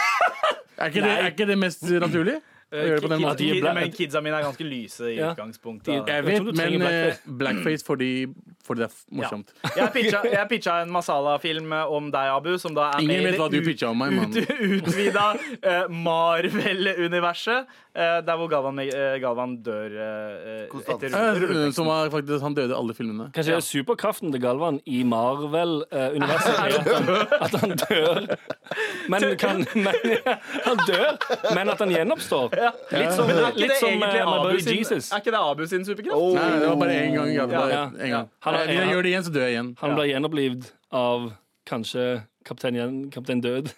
Speaker 6: er, ikke det, er ikke det mest naturlig? Å
Speaker 5: Eh,
Speaker 6: gjøre det på den
Speaker 2: Kid-
Speaker 6: måten?
Speaker 5: de er
Speaker 2: kid-
Speaker 5: bla-
Speaker 2: Men kidsa mine er ganske lyse i
Speaker 5: Ja.
Speaker 2: utgangspunktet.
Speaker 5: De-
Speaker 2: da.
Speaker 5: Jeg tror
Speaker 6: Jeg vet,
Speaker 5: du trenger
Speaker 6: men blackface, blackface fordi, fordi det er f- morsomt.
Speaker 2: Jeg pitcha, jeg pitcha en masala-film eh, om deg, Abu, som da er
Speaker 6: Ingen
Speaker 2: med i
Speaker 6: vet
Speaker 2: det
Speaker 6: hva du
Speaker 2: ut-
Speaker 6: pitcha om meg, mann.
Speaker 2: ut, utvida eh, Marvel-universet, eh, der hvor Galvan, eh, Galvan dør eh, eh,
Speaker 3: Konstant.
Speaker 2: etter
Speaker 6: Eh, Som var faktisk, han døde i alle filmene.
Speaker 5: Kanskje superkraften til Galvan i Marvel-universet er at han, at han dør. Men, kan, men Han dør, men at han gjenoppstår. Litt som,
Speaker 2: Men er ikke
Speaker 5: litt
Speaker 2: det
Speaker 5: som
Speaker 2: egentlig
Speaker 5: eh, My
Speaker 2: Abu
Speaker 5: Buddy
Speaker 2: sin,
Speaker 5: Jesus.
Speaker 2: Er ikke det Abu sin superkraft?
Speaker 3: Oh.
Speaker 6: Nei, det var bare én gang. Ja, det var
Speaker 5: Ja,
Speaker 6: en gang.
Speaker 5: Han er-
Speaker 6: Hvis jeg gjør det igjen, så dør jeg igjen.
Speaker 5: Han blir gjenopplivd av kanskje kaptein, Gjen- kaptein Død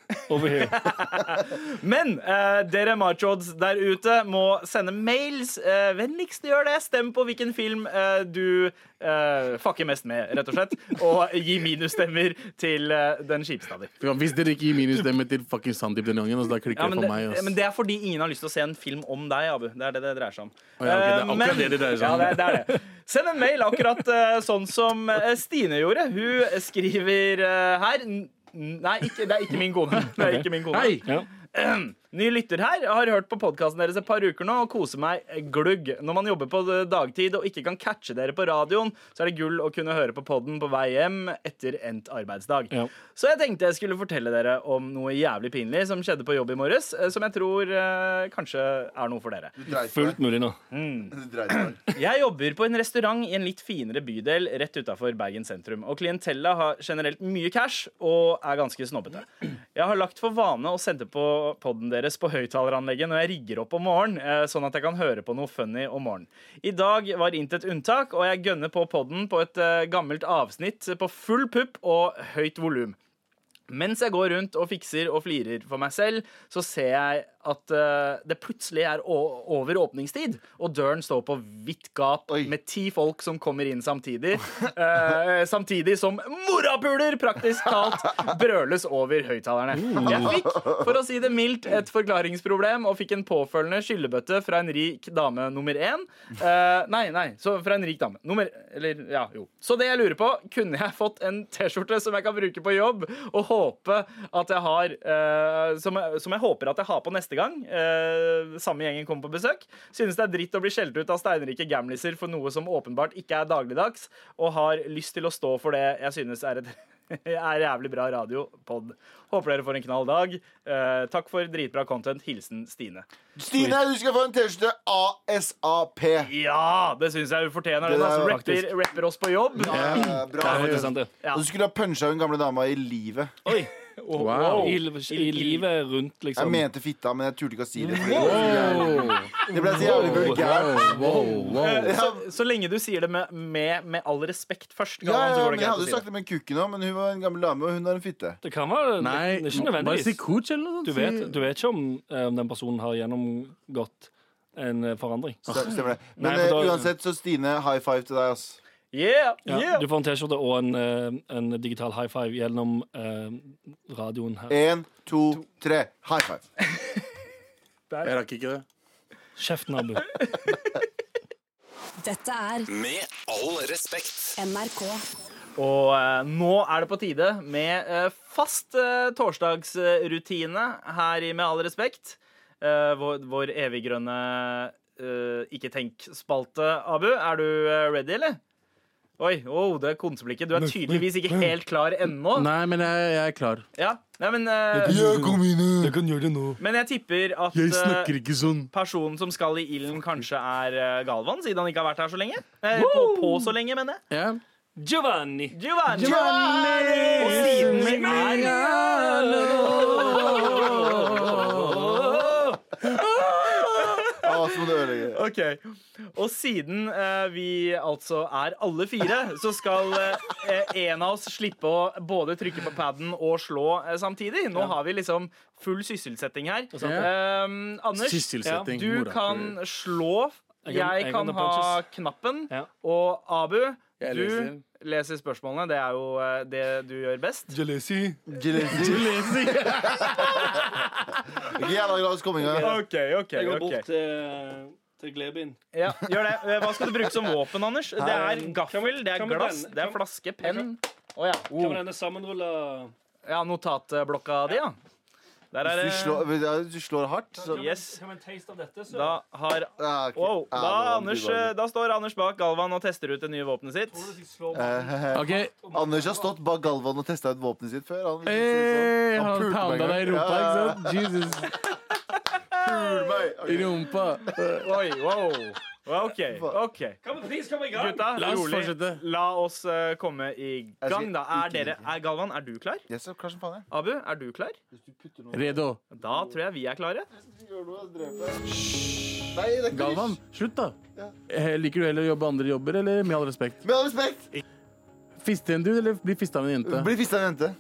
Speaker 5: over her.
Speaker 2: Men eh, dere machods der ute må sende mails. Eh, vennligst gjør det. Stem på hvilken film eh, du eh, fucker mest med, rett og slett. Og gi minusstemmer til eh, den kjipeste av de.
Speaker 6: Ja, Hvis dere ikke gir minusstemme til fucking Sandeep den gangen, altså, da klikker
Speaker 2: Ja,
Speaker 6: det
Speaker 2: men,
Speaker 6: for meg.
Speaker 2: det,
Speaker 6: ass.
Speaker 2: men det er fordi ingen har lyst til å se en film om deg, Abu. Det er det det dreier seg om.
Speaker 6: Å ja, ok, det er
Speaker 2: Eh,
Speaker 6: akkurat det det dreier seg om.
Speaker 2: Ja, det, er- det er det. Send en mail akkurat eh, sånn som eh, Stine gjorde. Hun skriver eh, her n- Nei, ikke, det er ikke min kone. Det er ikke min kone.
Speaker 6: Hei!
Speaker 5: Ja.
Speaker 2: Ny lytter her. Jeg har hørt på podkasten deres et par uker nå og koser meg glugg. Når man jobber på dagtid og ikke kan catche dere på radioen, så er det gull å kunne høre på podden på vei hjem etter endt arbeidsdag.
Speaker 5: Ja.
Speaker 2: Så jeg tenkte jeg skulle fortelle dere om noe jævlig pinlig som skjedde på jobb i morges, eh, som jeg tror eh, kanskje er noe for dere.
Speaker 3: Du dreit
Speaker 5: Fullt mulig nå.
Speaker 3: deg.
Speaker 2: Jeg jobber på en restaurant i en litt finere bydel rett utafor Bergen sentrum. Og klientella har generelt mye cash og er ganske snobbete. Jeg har lagt for vane å sende på poden deres på høyttaleranlegget når jeg rigger opp om morgenen, eh, sånn at jeg kan høre på noe funny om morgenen. I dag var intet unntak, og jeg gønner på poden på et eh, gammelt avsnitt på full pupp og høyt volum. Mens jeg går rundt og fikser og flirer for meg selv, så ser jeg at eh, det plutselig er o- over åpningstid, og døren står på vidt gap
Speaker 3: Oi.
Speaker 2: med ti folk som kommer inn samtidig. eh, samtidig som morapuler praktisk talt brøles over høyttalerne. Jeg fikk, for å si det mildt, et forklaringsproblem og fikk en påfølgende skyllebøtte fra en rik dame nummer én. Eh, nei, nei, så fra en rik dame. Nummer Eller, ja, jo. Så det jeg lurer på, kunne jeg fått en T-skjorte som jeg kan bruke på jobb, og håpe at jeg har eh, som, jeg- som jeg håper at jeg har på neste gang eh, samme gjengen kommer på besøk. Synes det er dritt å bli skjelt ut av steinrike gamliser for noe som åpenbart ikke er dagligdags, og har lyst til å stå for det jeg synes er et er jævlig bra radio. Pod. Håper dere får en knall dag. Eh, takk for dritbra content. Hilsen Stine.
Speaker 3: Stine, du skal få en T-skjorte ASAP.
Speaker 2: Ja, det syns jeg hun fortjener.
Speaker 3: Det
Speaker 2: Hun
Speaker 3: der
Speaker 2: altså,
Speaker 3: var
Speaker 2: rapper, rapper oss på jobb.
Speaker 3: Eh, Bra.
Speaker 5: Det er sant, det.
Speaker 2: Ja.
Speaker 3: Og du skulle ha punsja hun gamle dama i livet.
Speaker 6: Wow.
Speaker 5: I, I livet rundt,
Speaker 3: Jeg
Speaker 5: liksom.
Speaker 3: mente fitta, men jeg turte ikke å si det. fordi Det ble så jævlig vulgært.
Speaker 6: Wow, wow, wow.
Speaker 2: Så, så lenge du sier det med, med, med all respekt først.
Speaker 3: Ja,
Speaker 2: Galvan,
Speaker 3: ja,
Speaker 2: så går det
Speaker 3: men jeg
Speaker 2: greit å
Speaker 3: hadde
Speaker 2: si
Speaker 3: jo sagt det med kukken òg, men hun var en gammel dame, og hun har en fitte.
Speaker 5: Det kan være det
Speaker 6: Nei,
Speaker 5: er ikke
Speaker 6: bare si
Speaker 5: nødvendigvis.
Speaker 6: coach eller noe sånt.
Speaker 5: Du vet, du vet ikke om, eh, om den personen har gjennomgått en eh, forandring.
Speaker 3: Stemmer det. Men
Speaker 5: Nei, for
Speaker 3: eh,
Speaker 5: da-
Speaker 3: uansett, så Stine, high five til deg, ass.
Speaker 2: Yeah,
Speaker 5: Ja,
Speaker 2: yeah.
Speaker 5: Du får en T-skjorte og en, eh, en digital high five gjennom eh, radioen her.
Speaker 3: Én, to, tre. High five.
Speaker 6: Jeg rakk ikke det.
Speaker 5: Kjeften, Abu.
Speaker 7: Dette er
Speaker 1: Med all respekt.
Speaker 7: NRK.
Speaker 2: Og eh, nå er det på tide med eh, fast eh, torsdagsrutine her i Med all respekt. Eh, vår, vår eviggrønne eh, ikke-tenk-spalte. Abu, er du eh, ready, eller? Oi, wow, det er konseblikket. Du er tydeligvis ikke helt klar ennå.
Speaker 6: Nei, men jeg, jeg er klar.
Speaker 2: Ja, Nei, men, eh,
Speaker 5: Jeg kan gjøre det nå.
Speaker 2: men jeg tipper at
Speaker 6: Jeg
Speaker 2: eh,
Speaker 6: snakker ikke sånn.
Speaker 2: personen som skal i ilden, kanskje er eh, Galvan, siden han ikke har vært her så lenge. Eh, på, på så lenge, mener jeg.
Speaker 6: Ja.
Speaker 5: Giovanni.
Speaker 2: Giovanni! Og siden vi er
Speaker 3: Å, så må du ødelegge.
Speaker 2: Ok. Og siden eh, vi altså er alle fire, så skal eh, en av oss slippe å både trykke på paden og slå eh, samtidig. Nå har vi liksom full sysselsetting her.
Speaker 5: sånn.
Speaker 6: Ja.
Speaker 2: Eh, Anders,
Speaker 6: Sysselsetting,
Speaker 2: du
Speaker 6: mora.
Speaker 2: kan slå.
Speaker 5: Mm. Jeg kan-
Speaker 2: Jeg
Speaker 5: jeg
Speaker 2: kan
Speaker 5: kan ta
Speaker 2: ha
Speaker 5: punches.
Speaker 2: knappen.
Speaker 5: Ja.
Speaker 2: Og Abu,
Speaker 6: Jeg
Speaker 2: du
Speaker 6: leser.
Speaker 2: leser spørsmålene. Det er jo eh, det du gjør best.
Speaker 5: Jalesi.
Speaker 3: Gillespie. Ikke Jævla glad i skomming. ja.
Speaker 2: OK, OK.
Speaker 5: Jeg går
Speaker 2: ok.
Speaker 5: bort til, eh, til Glebin.
Speaker 2: Ja, gjør det. Eh, Hva skal du bruke som våpen, Anders? Det er gaffel, det er
Speaker 5: kan vi
Speaker 2: glass,
Speaker 5: blande-
Speaker 2: det er
Speaker 5: kan-
Speaker 2: flaske, penn. Å ja.
Speaker 5: Kan
Speaker 2: Oh.
Speaker 5: man denne sammenrulla
Speaker 2: Ja, notatblokka di, ja. Der er
Speaker 3: Hvis du
Speaker 2: det
Speaker 3: slår, hvis du slår hardt, så
Speaker 2: Yes.
Speaker 5: Kan man taste av dette, så
Speaker 2: Da har
Speaker 3: Ja, ok.
Speaker 2: Wow. Da,
Speaker 3: Ja, det var
Speaker 2: Anders,
Speaker 3: ubehagelig.
Speaker 2: eh, da står Anders bak Galvan og tester ut det nye våpenet sitt.
Speaker 5: Jeg slår meg.
Speaker 3: Eh,
Speaker 6: OK.
Speaker 3: Anders har stått bak Galvan og testa ut våpenet sitt før. Han,
Speaker 6: Hey, Eh, han
Speaker 3: pulte meg en
Speaker 6: pounda
Speaker 3: gang.
Speaker 6: deg i rumpa, ikke sant? Jesus.
Speaker 3: Pulte meg. Ok.
Speaker 6: I rumpa.
Speaker 2: Oi, wow. OK. ok
Speaker 5: Kan vi please komme i gang?
Speaker 2: Gutta,
Speaker 6: La oss
Speaker 2: rolig.
Speaker 6: fortsette.
Speaker 2: La oss eh, komme i
Speaker 3: Jeg
Speaker 2: gang,
Speaker 3: skal
Speaker 2: da. Er
Speaker 3: ikke
Speaker 2: dere er Galvan, er du klar?
Speaker 3: Yes, hva som faen er
Speaker 2: Abu, er du klar?
Speaker 6: Redo.
Speaker 2: Da tror jeg vi er klare.
Speaker 3: Nei, det er ikke
Speaker 6: Galvan, slutt, da. Eh, Liker du heller å jobbe andre jobber, eller med all respekt?
Speaker 3: Med all respekt,
Speaker 6: Fiste en dude, eller bli fista av en jente?
Speaker 3: bli fista av en jente.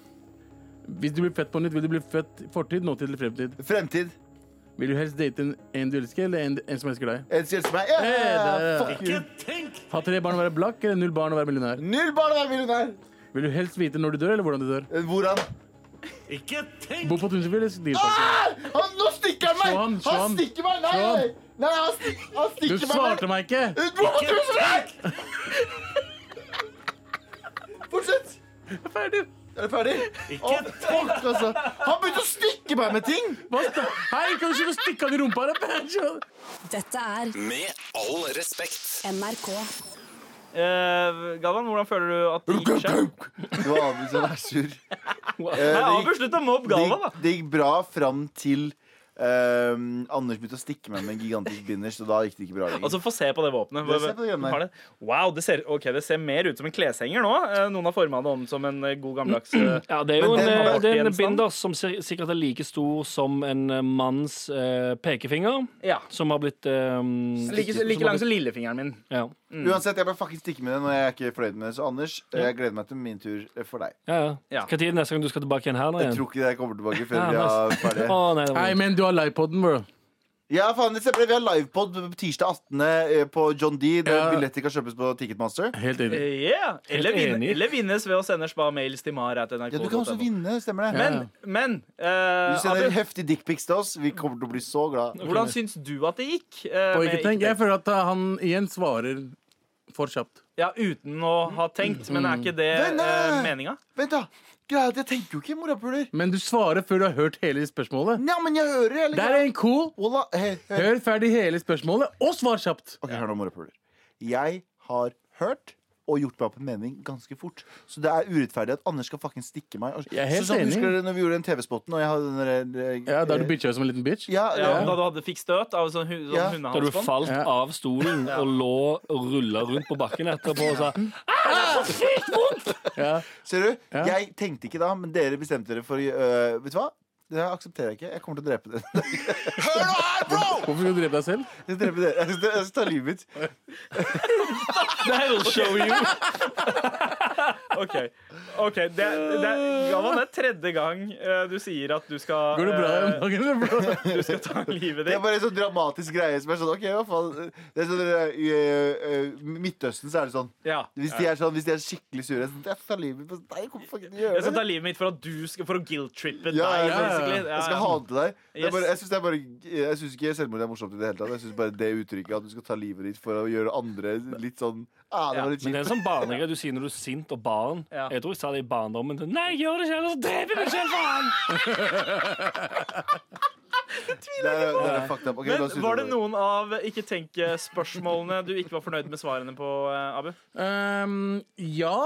Speaker 6: Hvis du blir født på nytt, vil du bli født fortid, nåtid eller fremtid?
Speaker 3: Fremtid.
Speaker 6: Vil du helst date en, en du elsker, eller en, en som elsker deg?
Speaker 3: En som elsker meg. Yeah!
Speaker 6: Hey, der, ja.
Speaker 3: Fuck you.
Speaker 6: Ha tre barn og være blakk, eller null barn og være millionær?
Speaker 3: Null barn å være millionær.
Speaker 6: Vil du helst vite når du dør, eller hvordan du dør?
Speaker 3: Eh, Hvordan?
Speaker 6: Bo på Tunsfjord, eller
Speaker 3: Ah!
Speaker 6: Dyreparken?
Speaker 3: Han, nå stikker han meg!
Speaker 6: Slå han, slå han.
Speaker 3: stikker meg! Nei,
Speaker 6: Slå han.
Speaker 3: nei, nei han, stik, han
Speaker 6: Du
Speaker 3: stikker meg!
Speaker 6: svarte meg ikke!
Speaker 3: Du må tusen takk! Fortsett.
Speaker 6: Ferdig.
Speaker 3: Er du ferdig? Ikke fuck, altså. Han begynte å stikke meg med ting!
Speaker 6: Hva sta- Hei, kan du ikke stikke han i rumpa? eller?
Speaker 7: Dette er
Speaker 1: Med all respekt.
Speaker 7: NRK.
Speaker 2: Eh, Galvan, hvordan føler du at det gikk seg?
Speaker 3: Det var Abu som var sur. Eh,
Speaker 2: Nei,
Speaker 3: det
Speaker 2: Abu,
Speaker 3: gikk-
Speaker 2: slutt å mobbe
Speaker 3: det
Speaker 2: Galvan, da.
Speaker 3: gikk- det gikk bra fram til ehm, Anders begynte å stikke meg med en gigantisk binders, og da gikk det ikke bra lenger.
Speaker 2: Altså, Få se på det våpenet.
Speaker 3: Ja, se på det grønne.
Speaker 2: Har det- Wow, det ser, ok, det ser mer ut som en kleshenger nå. Eh, Noen har forma det om som en eh, god gammeldags eh,
Speaker 5: Ja, det er jo
Speaker 3: Men
Speaker 5: en,
Speaker 3: den var
Speaker 5: eh, det er en
Speaker 2: artig gjenstand.
Speaker 5: binder som sik- sikkert er like stor som en eh, manns eh, pekefinger,
Speaker 2: Ja.
Speaker 5: som har blitt eh,
Speaker 2: Like,
Speaker 5: som
Speaker 2: like
Speaker 5: har
Speaker 2: lang
Speaker 5: blitt-
Speaker 2: som lillefingeren min.
Speaker 5: ja.
Speaker 3: Uansett, jeg ble fuckings stikke med det når jeg er ikke fornøyd med det. Så Anders, eh, jeg gleder meg til min tur eh, for deg.
Speaker 5: ja, ja.
Speaker 2: Ja.
Speaker 5: Hva tid er det neste gang du skal tilbake igjen her? nå
Speaker 3: Jeg
Speaker 5: igjen?
Speaker 3: tror ikke jeg kommer tilbake før
Speaker 5: Ja,
Speaker 3: vi er ferdige.
Speaker 5: Å, nei, det
Speaker 6: Hei,
Speaker 5: var...
Speaker 6: men du har livepoden, bro.
Speaker 3: Ja, faen, det stemmer. Vi har livepod tirsdag 18. eh, på John D. Der
Speaker 6: Ja.
Speaker 3: billetter kan kjøpes på Ticketmaster.
Speaker 6: Helt
Speaker 2: Eh,
Speaker 6: enig.
Speaker 2: Yeah. Eller,
Speaker 5: Helt
Speaker 2: vinne,
Speaker 5: enig.
Speaker 2: eller vinnes ved å sende spa-mails til mar.nrk.no.
Speaker 3: Ja, du kan også vinne, stemmer det?
Speaker 2: Men, men eh,
Speaker 3: Du sender
Speaker 2: Abu,
Speaker 3: heftig dickpics til oss. Vi kommer til å bli så glad.
Speaker 2: hvordan syns du at det gikk? eh,
Speaker 6: Og
Speaker 2: med
Speaker 6: ikke tenk,
Speaker 2: ikke-
Speaker 6: jeg føler at han igjen svarer for kjapt.
Speaker 2: Ja, Uten å ha tenkt, men er ikke det
Speaker 3: Venne!
Speaker 2: uh, meninga?
Speaker 3: Vent, da. Greia er at jeg tenker jo ikke morapuler.
Speaker 6: Men du svarer før du har hørt hele spørsmålet.
Speaker 3: Nei, men jeg hører hele
Speaker 6: Der er en cool.
Speaker 3: Ola, hør, hør.
Speaker 6: Hør ferdig hele spørsmålet, og svar kjapt.
Speaker 3: Ok, hør nå, morapuler. Jeg har hørt og gjort meg opp en mening ganske fort. Så det er urettferdig at Anders skal fucking stikke meg.
Speaker 6: Jeg er helt
Speaker 3: sånn,
Speaker 6: enig.
Speaker 3: Husker dere når vi gjorde den TV-spotten, og jeg hadde den der eh,
Speaker 6: Ja, Da er
Speaker 3: eh,
Speaker 6: du bitcha som en liten bitch.
Speaker 3: Ja,
Speaker 2: Ja,
Speaker 3: ja.
Speaker 2: Da du hadde fikk støt av sånn, hu- sånn
Speaker 3: Ja.
Speaker 5: Da du
Speaker 2: hundehalsbånd?
Speaker 5: falt
Speaker 6: Ja.
Speaker 5: av stolen og lå og rulla rundt på bakken etterpå og sa
Speaker 6: Ja.
Speaker 3: Ser du?
Speaker 6: Ja.
Speaker 3: Jeg tenkte ikke da, men dere bestemte dere for øh, Vet du hva? Det her aksepterer jeg ikke. Jeg kommer til å drepe dere. Hør nå her, bro!
Speaker 6: Hvorfor skal du drepe deg selv?
Speaker 3: Jeg skal drepe dere. Jeg skal, jeg skal ta livet mitt.
Speaker 5: That'll show you!
Speaker 2: OK. ok, det, det, Galvan, det er tredje gang eh, du sier at du skal
Speaker 6: Går det bra
Speaker 2: eh,
Speaker 6: om dagen? bro?
Speaker 2: Du skal ta livet
Speaker 3: Det er
Speaker 2: ditt.
Speaker 3: bare en sånn dramatisk greie som er sånn OK, hva faen. Det er sånn, øh, I øh, Midtøsten så er det sånn.
Speaker 2: Ja.
Speaker 3: Hvis de er, sånn, hvis de er skikkelig sure, sånn, jeg tar livet mitt på deg. Jeg kommer fucking til å
Speaker 2: Jeg
Speaker 3: gjøre
Speaker 2: skal ta
Speaker 3: det.
Speaker 2: livet mitt for at du skal For å guilt-trippe deg,
Speaker 3: Ja, ja, ja.
Speaker 2: basically. Ja,
Speaker 3: Jeg skal
Speaker 2: ja.
Speaker 3: hate deg. Det
Speaker 2: Yes.
Speaker 3: er bare, jeg syns det er bare- jeg synes ikke selvmord er morsomt i det hele tatt. Jeg synes bare det uttrykket at du skal ta livet ditt for å gjøre andre litt sånn ah, det
Speaker 2: Ja,
Speaker 3: var litt
Speaker 5: Men det
Speaker 3: kjipt.
Speaker 5: er en sånn barnegreie du sier når du er sint og barn.
Speaker 2: Ja.
Speaker 5: Jeg tror jeg sa det i barndommen. Nei, gjør det ikke, ellers dreper jeg meg selv, faen!
Speaker 3: Det er, det er fucked up. Ok, la
Speaker 2: Men
Speaker 3: oss ut
Speaker 2: var det
Speaker 3: av
Speaker 2: noen av ikke-tenke-spørsmålene du ikke var fornøyd med svarene på, eh, Abu?
Speaker 6: Ehm, ja.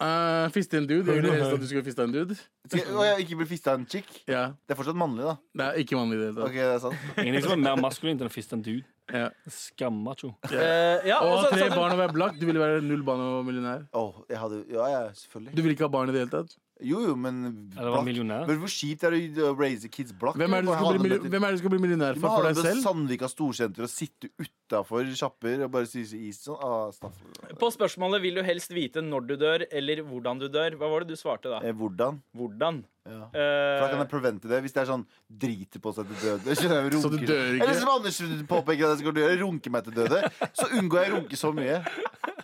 Speaker 6: Eh, fiste en dude. Jeg ville helst at du skulle fiste en dude.
Speaker 3: Skal- Å, jeg ikke bli fista av en chick?
Speaker 6: Ja,
Speaker 3: Det er fortsatt mannlig, da.
Speaker 6: Det er ikke vanlig i det hele tatt.
Speaker 3: Ok, det er sant.
Speaker 5: Ingenting som er mer maskulint enn å fiste en dude.
Speaker 6: Ja.
Speaker 5: Skammacho.
Speaker 2: Eh, ja, og
Speaker 6: Og
Speaker 2: så-
Speaker 6: tre
Speaker 2: så-
Speaker 6: barn og være blakk. Du ville være null barn og millionær.
Speaker 3: Åh, jeg hadde, ja, ja, selvfølgelig.
Speaker 6: Du vil ikke ha barn i det hele tatt.
Speaker 3: Jo, jo, men
Speaker 5: Eller
Speaker 3: blakk.
Speaker 5: var millionær.
Speaker 3: Men hvor kjipt er det å raise kids blakk?
Speaker 6: Hvem er det du skal bli, milli- hvem er det du skal bli millionær
Speaker 3: Du
Speaker 6: for?
Speaker 3: må
Speaker 6: For
Speaker 3: ha
Speaker 6: deg
Speaker 3: dem på
Speaker 6: selv?
Speaker 3: Sandvika storsenter og sitte utafor sjapper og bare spise is sånn. Ah, staff.
Speaker 2: På spørsmålet 'Vil du helst vite når du dør, eller hvordan du dør?' Hva var det du svarte da?
Speaker 3: Eh, hvordan?
Speaker 2: Hvordan?
Speaker 3: Ja. For da kan
Speaker 2: Eh,
Speaker 3: jeg prevente det, hvis det er sånn driter på seg til døde. Skjønner jeg,
Speaker 6: Så du
Speaker 3: runker.
Speaker 6: dør ikke?
Speaker 3: Eller som Anders påpeker at jeg skal gjøre, runke meg til døde. Så unngår jeg å runke så mye.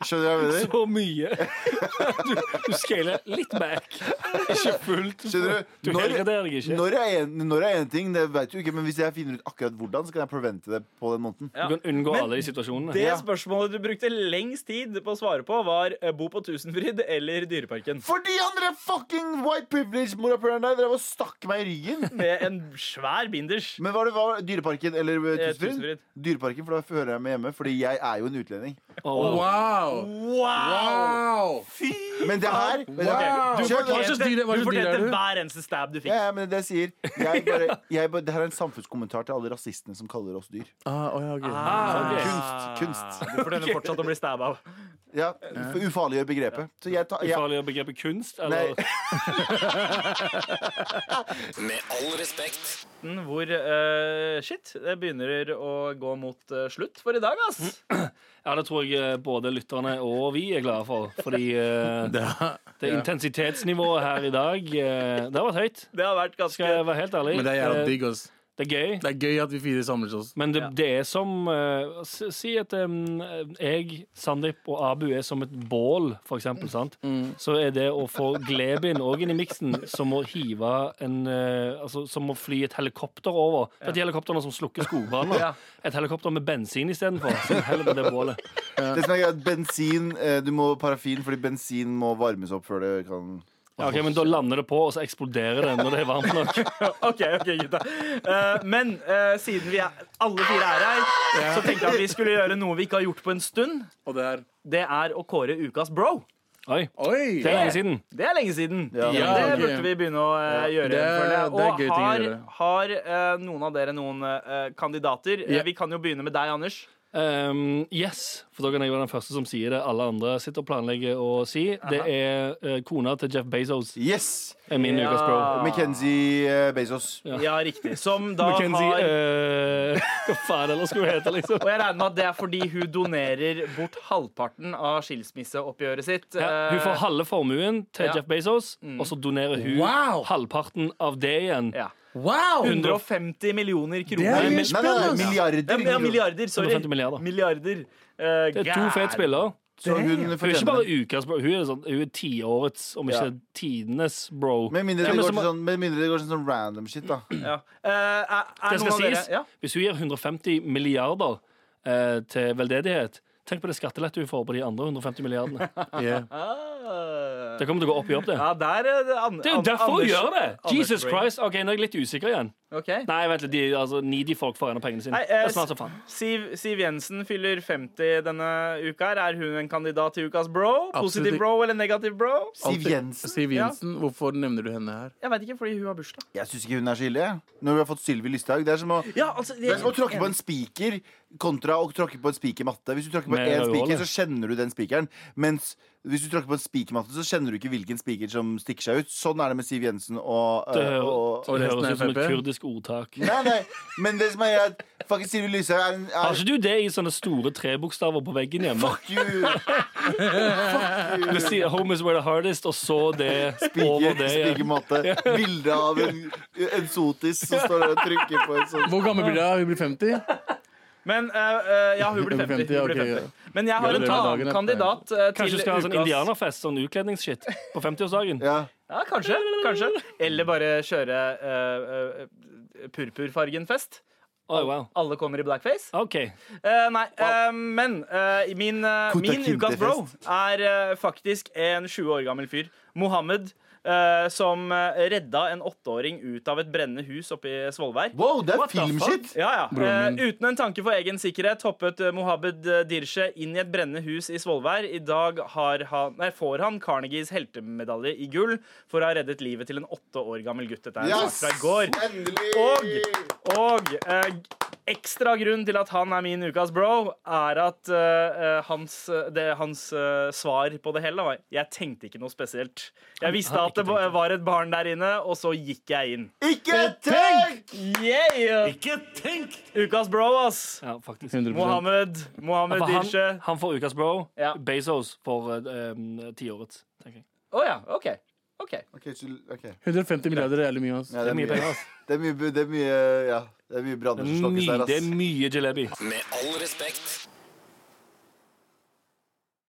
Speaker 3: Skjønner jeg hva jeg mener?
Speaker 5: Så mye! Du, du scaler litt back. Ikke fullt.
Speaker 3: Skjønner du?
Speaker 5: Du
Speaker 3: Når-
Speaker 5: helgraderer deg ikke.
Speaker 3: Når er en- når er en ting, det vet du ikke, men hvis jeg finner ut akkurat hvordan, så kan jeg prevente det på den måneden.
Speaker 5: Du kan unngå
Speaker 2: Men
Speaker 5: alle de situasjonene.
Speaker 2: det
Speaker 3: Ja.
Speaker 2: spørsmålet du brukte lengst tid på å svare på, var eh, 'Bo på Tusenfryd' eller Dyreparken?
Speaker 3: Fordi han der fucking white privilege-morapuleren der drev og stakk meg i ryggen.
Speaker 2: Med en svær binders.
Speaker 3: Men var det var det Dyreparken eller eh,
Speaker 2: Eh,
Speaker 3: Tusenfryd?
Speaker 2: Tusenfryd.
Speaker 3: Dyreparken, for da hører jeg meg hjemme. Fordi jeg er jo en utlending.
Speaker 5: Åh,
Speaker 6: Wow!
Speaker 2: Wow!
Speaker 6: Wow!
Speaker 3: Men det her vet du hva?
Speaker 6: Wow!
Speaker 2: Du
Speaker 3: Kjør,
Speaker 6: Hva
Speaker 3: kjør.
Speaker 6: slags dyr- hva
Speaker 2: fortjente, du
Speaker 6: slags dyr er
Speaker 2: fortjente
Speaker 6: du?
Speaker 2: hver eneste stab du fikk.
Speaker 3: ja, ja, men det jeg sier jeg bare, jeg bare, Det her er en samfunnskommentar til alle rasistene som kaller oss dyr.
Speaker 6: Ah, å ja, ok. Ah.
Speaker 5: Ah,
Speaker 3: Kunst.
Speaker 5: ok.
Speaker 3: kunst
Speaker 2: Du fortjener fortsatt å bli stabba av.
Speaker 3: ja, for Ufarliggjør begrepet. Så jeg tar, jeg,
Speaker 5: Ufarliggjør begrepet kunst?
Speaker 3: nei,
Speaker 5: Eller?
Speaker 1: Med all respekt.
Speaker 2: Aften hvor eh, Shit, det begynner å gå mot eh, slutt for i dag, ass.
Speaker 6: Mm.
Speaker 5: Ja, det tror jeg eh, både lytterne og vi er glade for. Fordi eh, det, intensitetsnivået her i dag, eh, det har vært høyt.
Speaker 2: Det har vært ganske
Speaker 5: Skal jeg være helt ærlig.
Speaker 6: Men det er jævla
Speaker 5: Eh,
Speaker 6: digg, ass.
Speaker 5: det er gøy.
Speaker 6: Det er gøy at vi fire samles oss.
Speaker 5: Men det, det er som eh, s- Si at eh, jeg, Sandeep og Abu er som et bål, for eksempel. Sant? Så er det å få Glebin òg inn i miksen som å hive en eh, altså, Som å fly et helikopter over. Det er de helikoptrene som slukker skogbranner. Et helikopter med bensin istedenfor. Som heller på det bålet.
Speaker 3: det som er greit, bensin eh, Du må parafin, fordi bensin må varmes opp før det kan
Speaker 5: Ja, ok, Men da lander det på, og så eksploderer det når det er varmt nok.
Speaker 2: OK, ok, gutta. Eh, men eh, siden vi er, alle fire er her, så tenkte jeg at vi skulle gjøre noe vi ikke har gjort på en stund.
Speaker 6: Og det er
Speaker 2: Det er å kåre ukas bro.
Speaker 5: Oi,
Speaker 6: Oi!
Speaker 5: det er lenge siden.
Speaker 2: Det er lenge siden.
Speaker 3: Ja,
Speaker 2: det
Speaker 6: ja, ok.
Speaker 2: burde vi begynne å eh, gjøre.
Speaker 6: Det er-
Speaker 2: føler jeg.
Speaker 6: det er gøy ting å
Speaker 2: Og har,
Speaker 6: gjøre.
Speaker 2: har eh, noen av dere noen eh, kandidater? Eh,
Speaker 6: Ja.
Speaker 2: Vi kan jo begynne med deg, Anders.
Speaker 5: Um, yes, for da kan jeg være den første som sier det. Alle andre sitter og planlegger å si. Det er eh, kona til Jeff Bezos.
Speaker 3: Yes!
Speaker 5: Er min
Speaker 2: Ja.
Speaker 5: ukas bro.
Speaker 3: Mackenzie eh, Bezos.
Speaker 2: Ja, riktig. Som da
Speaker 5: Mackenzie
Speaker 2: har
Speaker 5: eh, Hva faen ellers skulle hun hete, liksom?
Speaker 2: Og jeg regner med at det er fordi hun donerer bort halvparten av skilsmisseoppgjøret sitt. eh,
Speaker 5: Ja, hun får halve formuen til
Speaker 2: Ja.
Speaker 5: Jeff Bezos, og så donerer hun
Speaker 6: Wow!
Speaker 5: halvparten av det igjen.
Speaker 2: Eh, ja.
Speaker 6: Wow!
Speaker 2: 150 millioner
Speaker 6: Det er
Speaker 2: kroner.
Speaker 6: mye
Speaker 2: Men-
Speaker 3: Nei, nei, nei,
Speaker 6: spennende! ass.
Speaker 2: Ja, men- ja,
Speaker 3: milliarder.
Speaker 2: milliarder. Sorry.
Speaker 5: 150 milliarder.
Speaker 2: Milliarder. Eh,
Speaker 5: Det er to fete spillere.
Speaker 3: Så hun
Speaker 5: Hun er ikke
Speaker 3: fortjener
Speaker 5: bare ukas bro, hun er, sånn, hun er tiårets, om ikke
Speaker 3: Ja.
Speaker 5: tidenes bro.
Speaker 3: Med mindre
Speaker 5: Ja,
Speaker 3: det
Speaker 5: men
Speaker 3: går
Speaker 5: som-
Speaker 3: til sånn, med mindre det går til sånn random shit, da.
Speaker 2: Ja. Eh, er, er
Speaker 5: Det skal
Speaker 2: noen av dere
Speaker 5: sies,
Speaker 2: ja?
Speaker 5: hvis hun gir 150 milliarder eh, til veldedighet Tenk på det skattelettet hun får på de andre 150 milliardene.
Speaker 6: Yeah.
Speaker 2: Ah.
Speaker 5: Det kommer til å gå opp i opp, det.
Speaker 2: ja, der er det an
Speaker 5: Det er jo
Speaker 2: an-
Speaker 5: derfor hun
Speaker 2: Anders-
Speaker 5: gjør det!
Speaker 2: Anders
Speaker 5: Jesus
Speaker 2: Breen.
Speaker 5: Christ. OK, nå er jeg litt usikker igjen.
Speaker 2: Ok.
Speaker 5: Nei, vent litt. De, altså, needy folk får igjen av pengene sine.
Speaker 2: Nei, eh,
Speaker 5: Det er smart som faen.
Speaker 2: Siv, Siv Jensen fyller 50 denne uka. her. Er hun en kandidat til ukas bro? Positiv
Speaker 6: Absolutt.
Speaker 2: bro eller negativ bro?
Speaker 3: Siv Jensen.
Speaker 6: Siv Jensen, hvorfor nevner du henne her?
Speaker 2: Jeg veit ikke, fordi hun har bursdag.
Speaker 3: Jeg syns ikke hun er så ille. jeg. Når vi har fått Sylvi Lysthaug. Det er som å
Speaker 2: Ja, altså,
Speaker 3: det er som å tråkke på en spiker kontra å tråkke på en spikermatte. Hvis du tråkker på
Speaker 5: Med
Speaker 3: én
Speaker 5: ravioli.
Speaker 3: spiker, så kjenner du den spikeren. Mens hvis du tråkker på en spikermatte, så kjenner du ikke hvilken spiker som stikker seg ut. Sånn er det med Siv Jensen og,
Speaker 5: Det, sånn.
Speaker 3: øh, og
Speaker 5: hører, det
Speaker 6: resten er
Speaker 5: høres ut som et
Speaker 6: FrP.
Speaker 5: kurdisk ordtak.
Speaker 3: Nei, nei. Men det som er at fucking Sylvi Lysthaug er en
Speaker 5: Har
Speaker 3: er,
Speaker 5: ikke du det i sånne store trebokstaver på veggen hjemme?
Speaker 3: Fuck you!
Speaker 5: Ved siden av Home is where the hardest, og så det over det igjen.
Speaker 3: Spikermatte. Bilde av en, en sotis som står der og trykker på en sånn.
Speaker 6: Hvor gammel blir du? Hun blir 50?
Speaker 2: Men eh, eh, ja, hun blir 50. hun blir
Speaker 6: ok,
Speaker 2: 50.
Speaker 6: ja.
Speaker 2: Men jeg har en
Speaker 6: Gratulerer med dagen,
Speaker 2: annen
Speaker 6: da.
Speaker 2: kandidat eh, til
Speaker 5: Kanskje du skal ha sånn
Speaker 2: ukas-
Speaker 5: indianerfest, sånn utkledningsshit, på 50-årsdagen.
Speaker 3: Ja.
Speaker 2: Ja, kanskje, kanskje. Eller bare kjøre eh, eh, purpurfargen-fest.
Speaker 5: Oi, Oh, wow.
Speaker 2: Alle kommer i blackface.
Speaker 5: OK.
Speaker 2: Eh, nei, eh, men eh, min, eh,
Speaker 3: Kota
Speaker 2: min ukas bro er eh, faktisk en 20 år gammel fyr. Mohammed. eh, som eh, redda en åtteåring ut av et brennende hus oppe i Svolvær.
Speaker 3: Wow, det er
Speaker 5: What the
Speaker 3: filmshit!
Speaker 2: Ja, ja.
Speaker 5: Broren
Speaker 2: Eh, uten en tanke for egen sikkerhet hoppet eh, Mohammed eh, Dirche inn i et brennende hus i Svolvær. I dag har han, nei, får han Carnegies heltemedalje i gull for å ha reddet livet til en åtte år gammel gutt. Dette er en sak fra i går.
Speaker 3: Endelig!
Speaker 2: Og, og eh, ekstra grunn til at han er min ukas bro, er at eh, eh, hans, eh, det, hans eh, svar på det hele da, var Jeg tenkte ikke noe spesielt. Jeg visste at det ba- var et barn der inne, og så gikk jeg inn.
Speaker 3: Ikke tenk!
Speaker 2: Yeah!
Speaker 4: Ikke tenk!
Speaker 2: Ukas bro, ass.
Speaker 5: Ja, faktisk.
Speaker 6: 100
Speaker 2: Mohammed, Mohammed
Speaker 5: For
Speaker 2: Dirche.
Speaker 5: han, han får ukas bro.
Speaker 2: Ja.
Speaker 5: Bezos får eh, um, tiårets. tenker jeg.
Speaker 2: Å ja, OK. OK.
Speaker 3: Ok, så, ok.
Speaker 6: 150 milliarder er jævlig mye. altså. ass.
Speaker 3: Ja,
Speaker 5: Det er mye penger. ass.
Speaker 3: Det er mye, det er mye, ja, det er mye branner som
Speaker 5: Mye-
Speaker 3: slokkes der,
Speaker 5: Det er
Speaker 3: ass.
Speaker 5: mye jalebi.
Speaker 1: Med all respekt.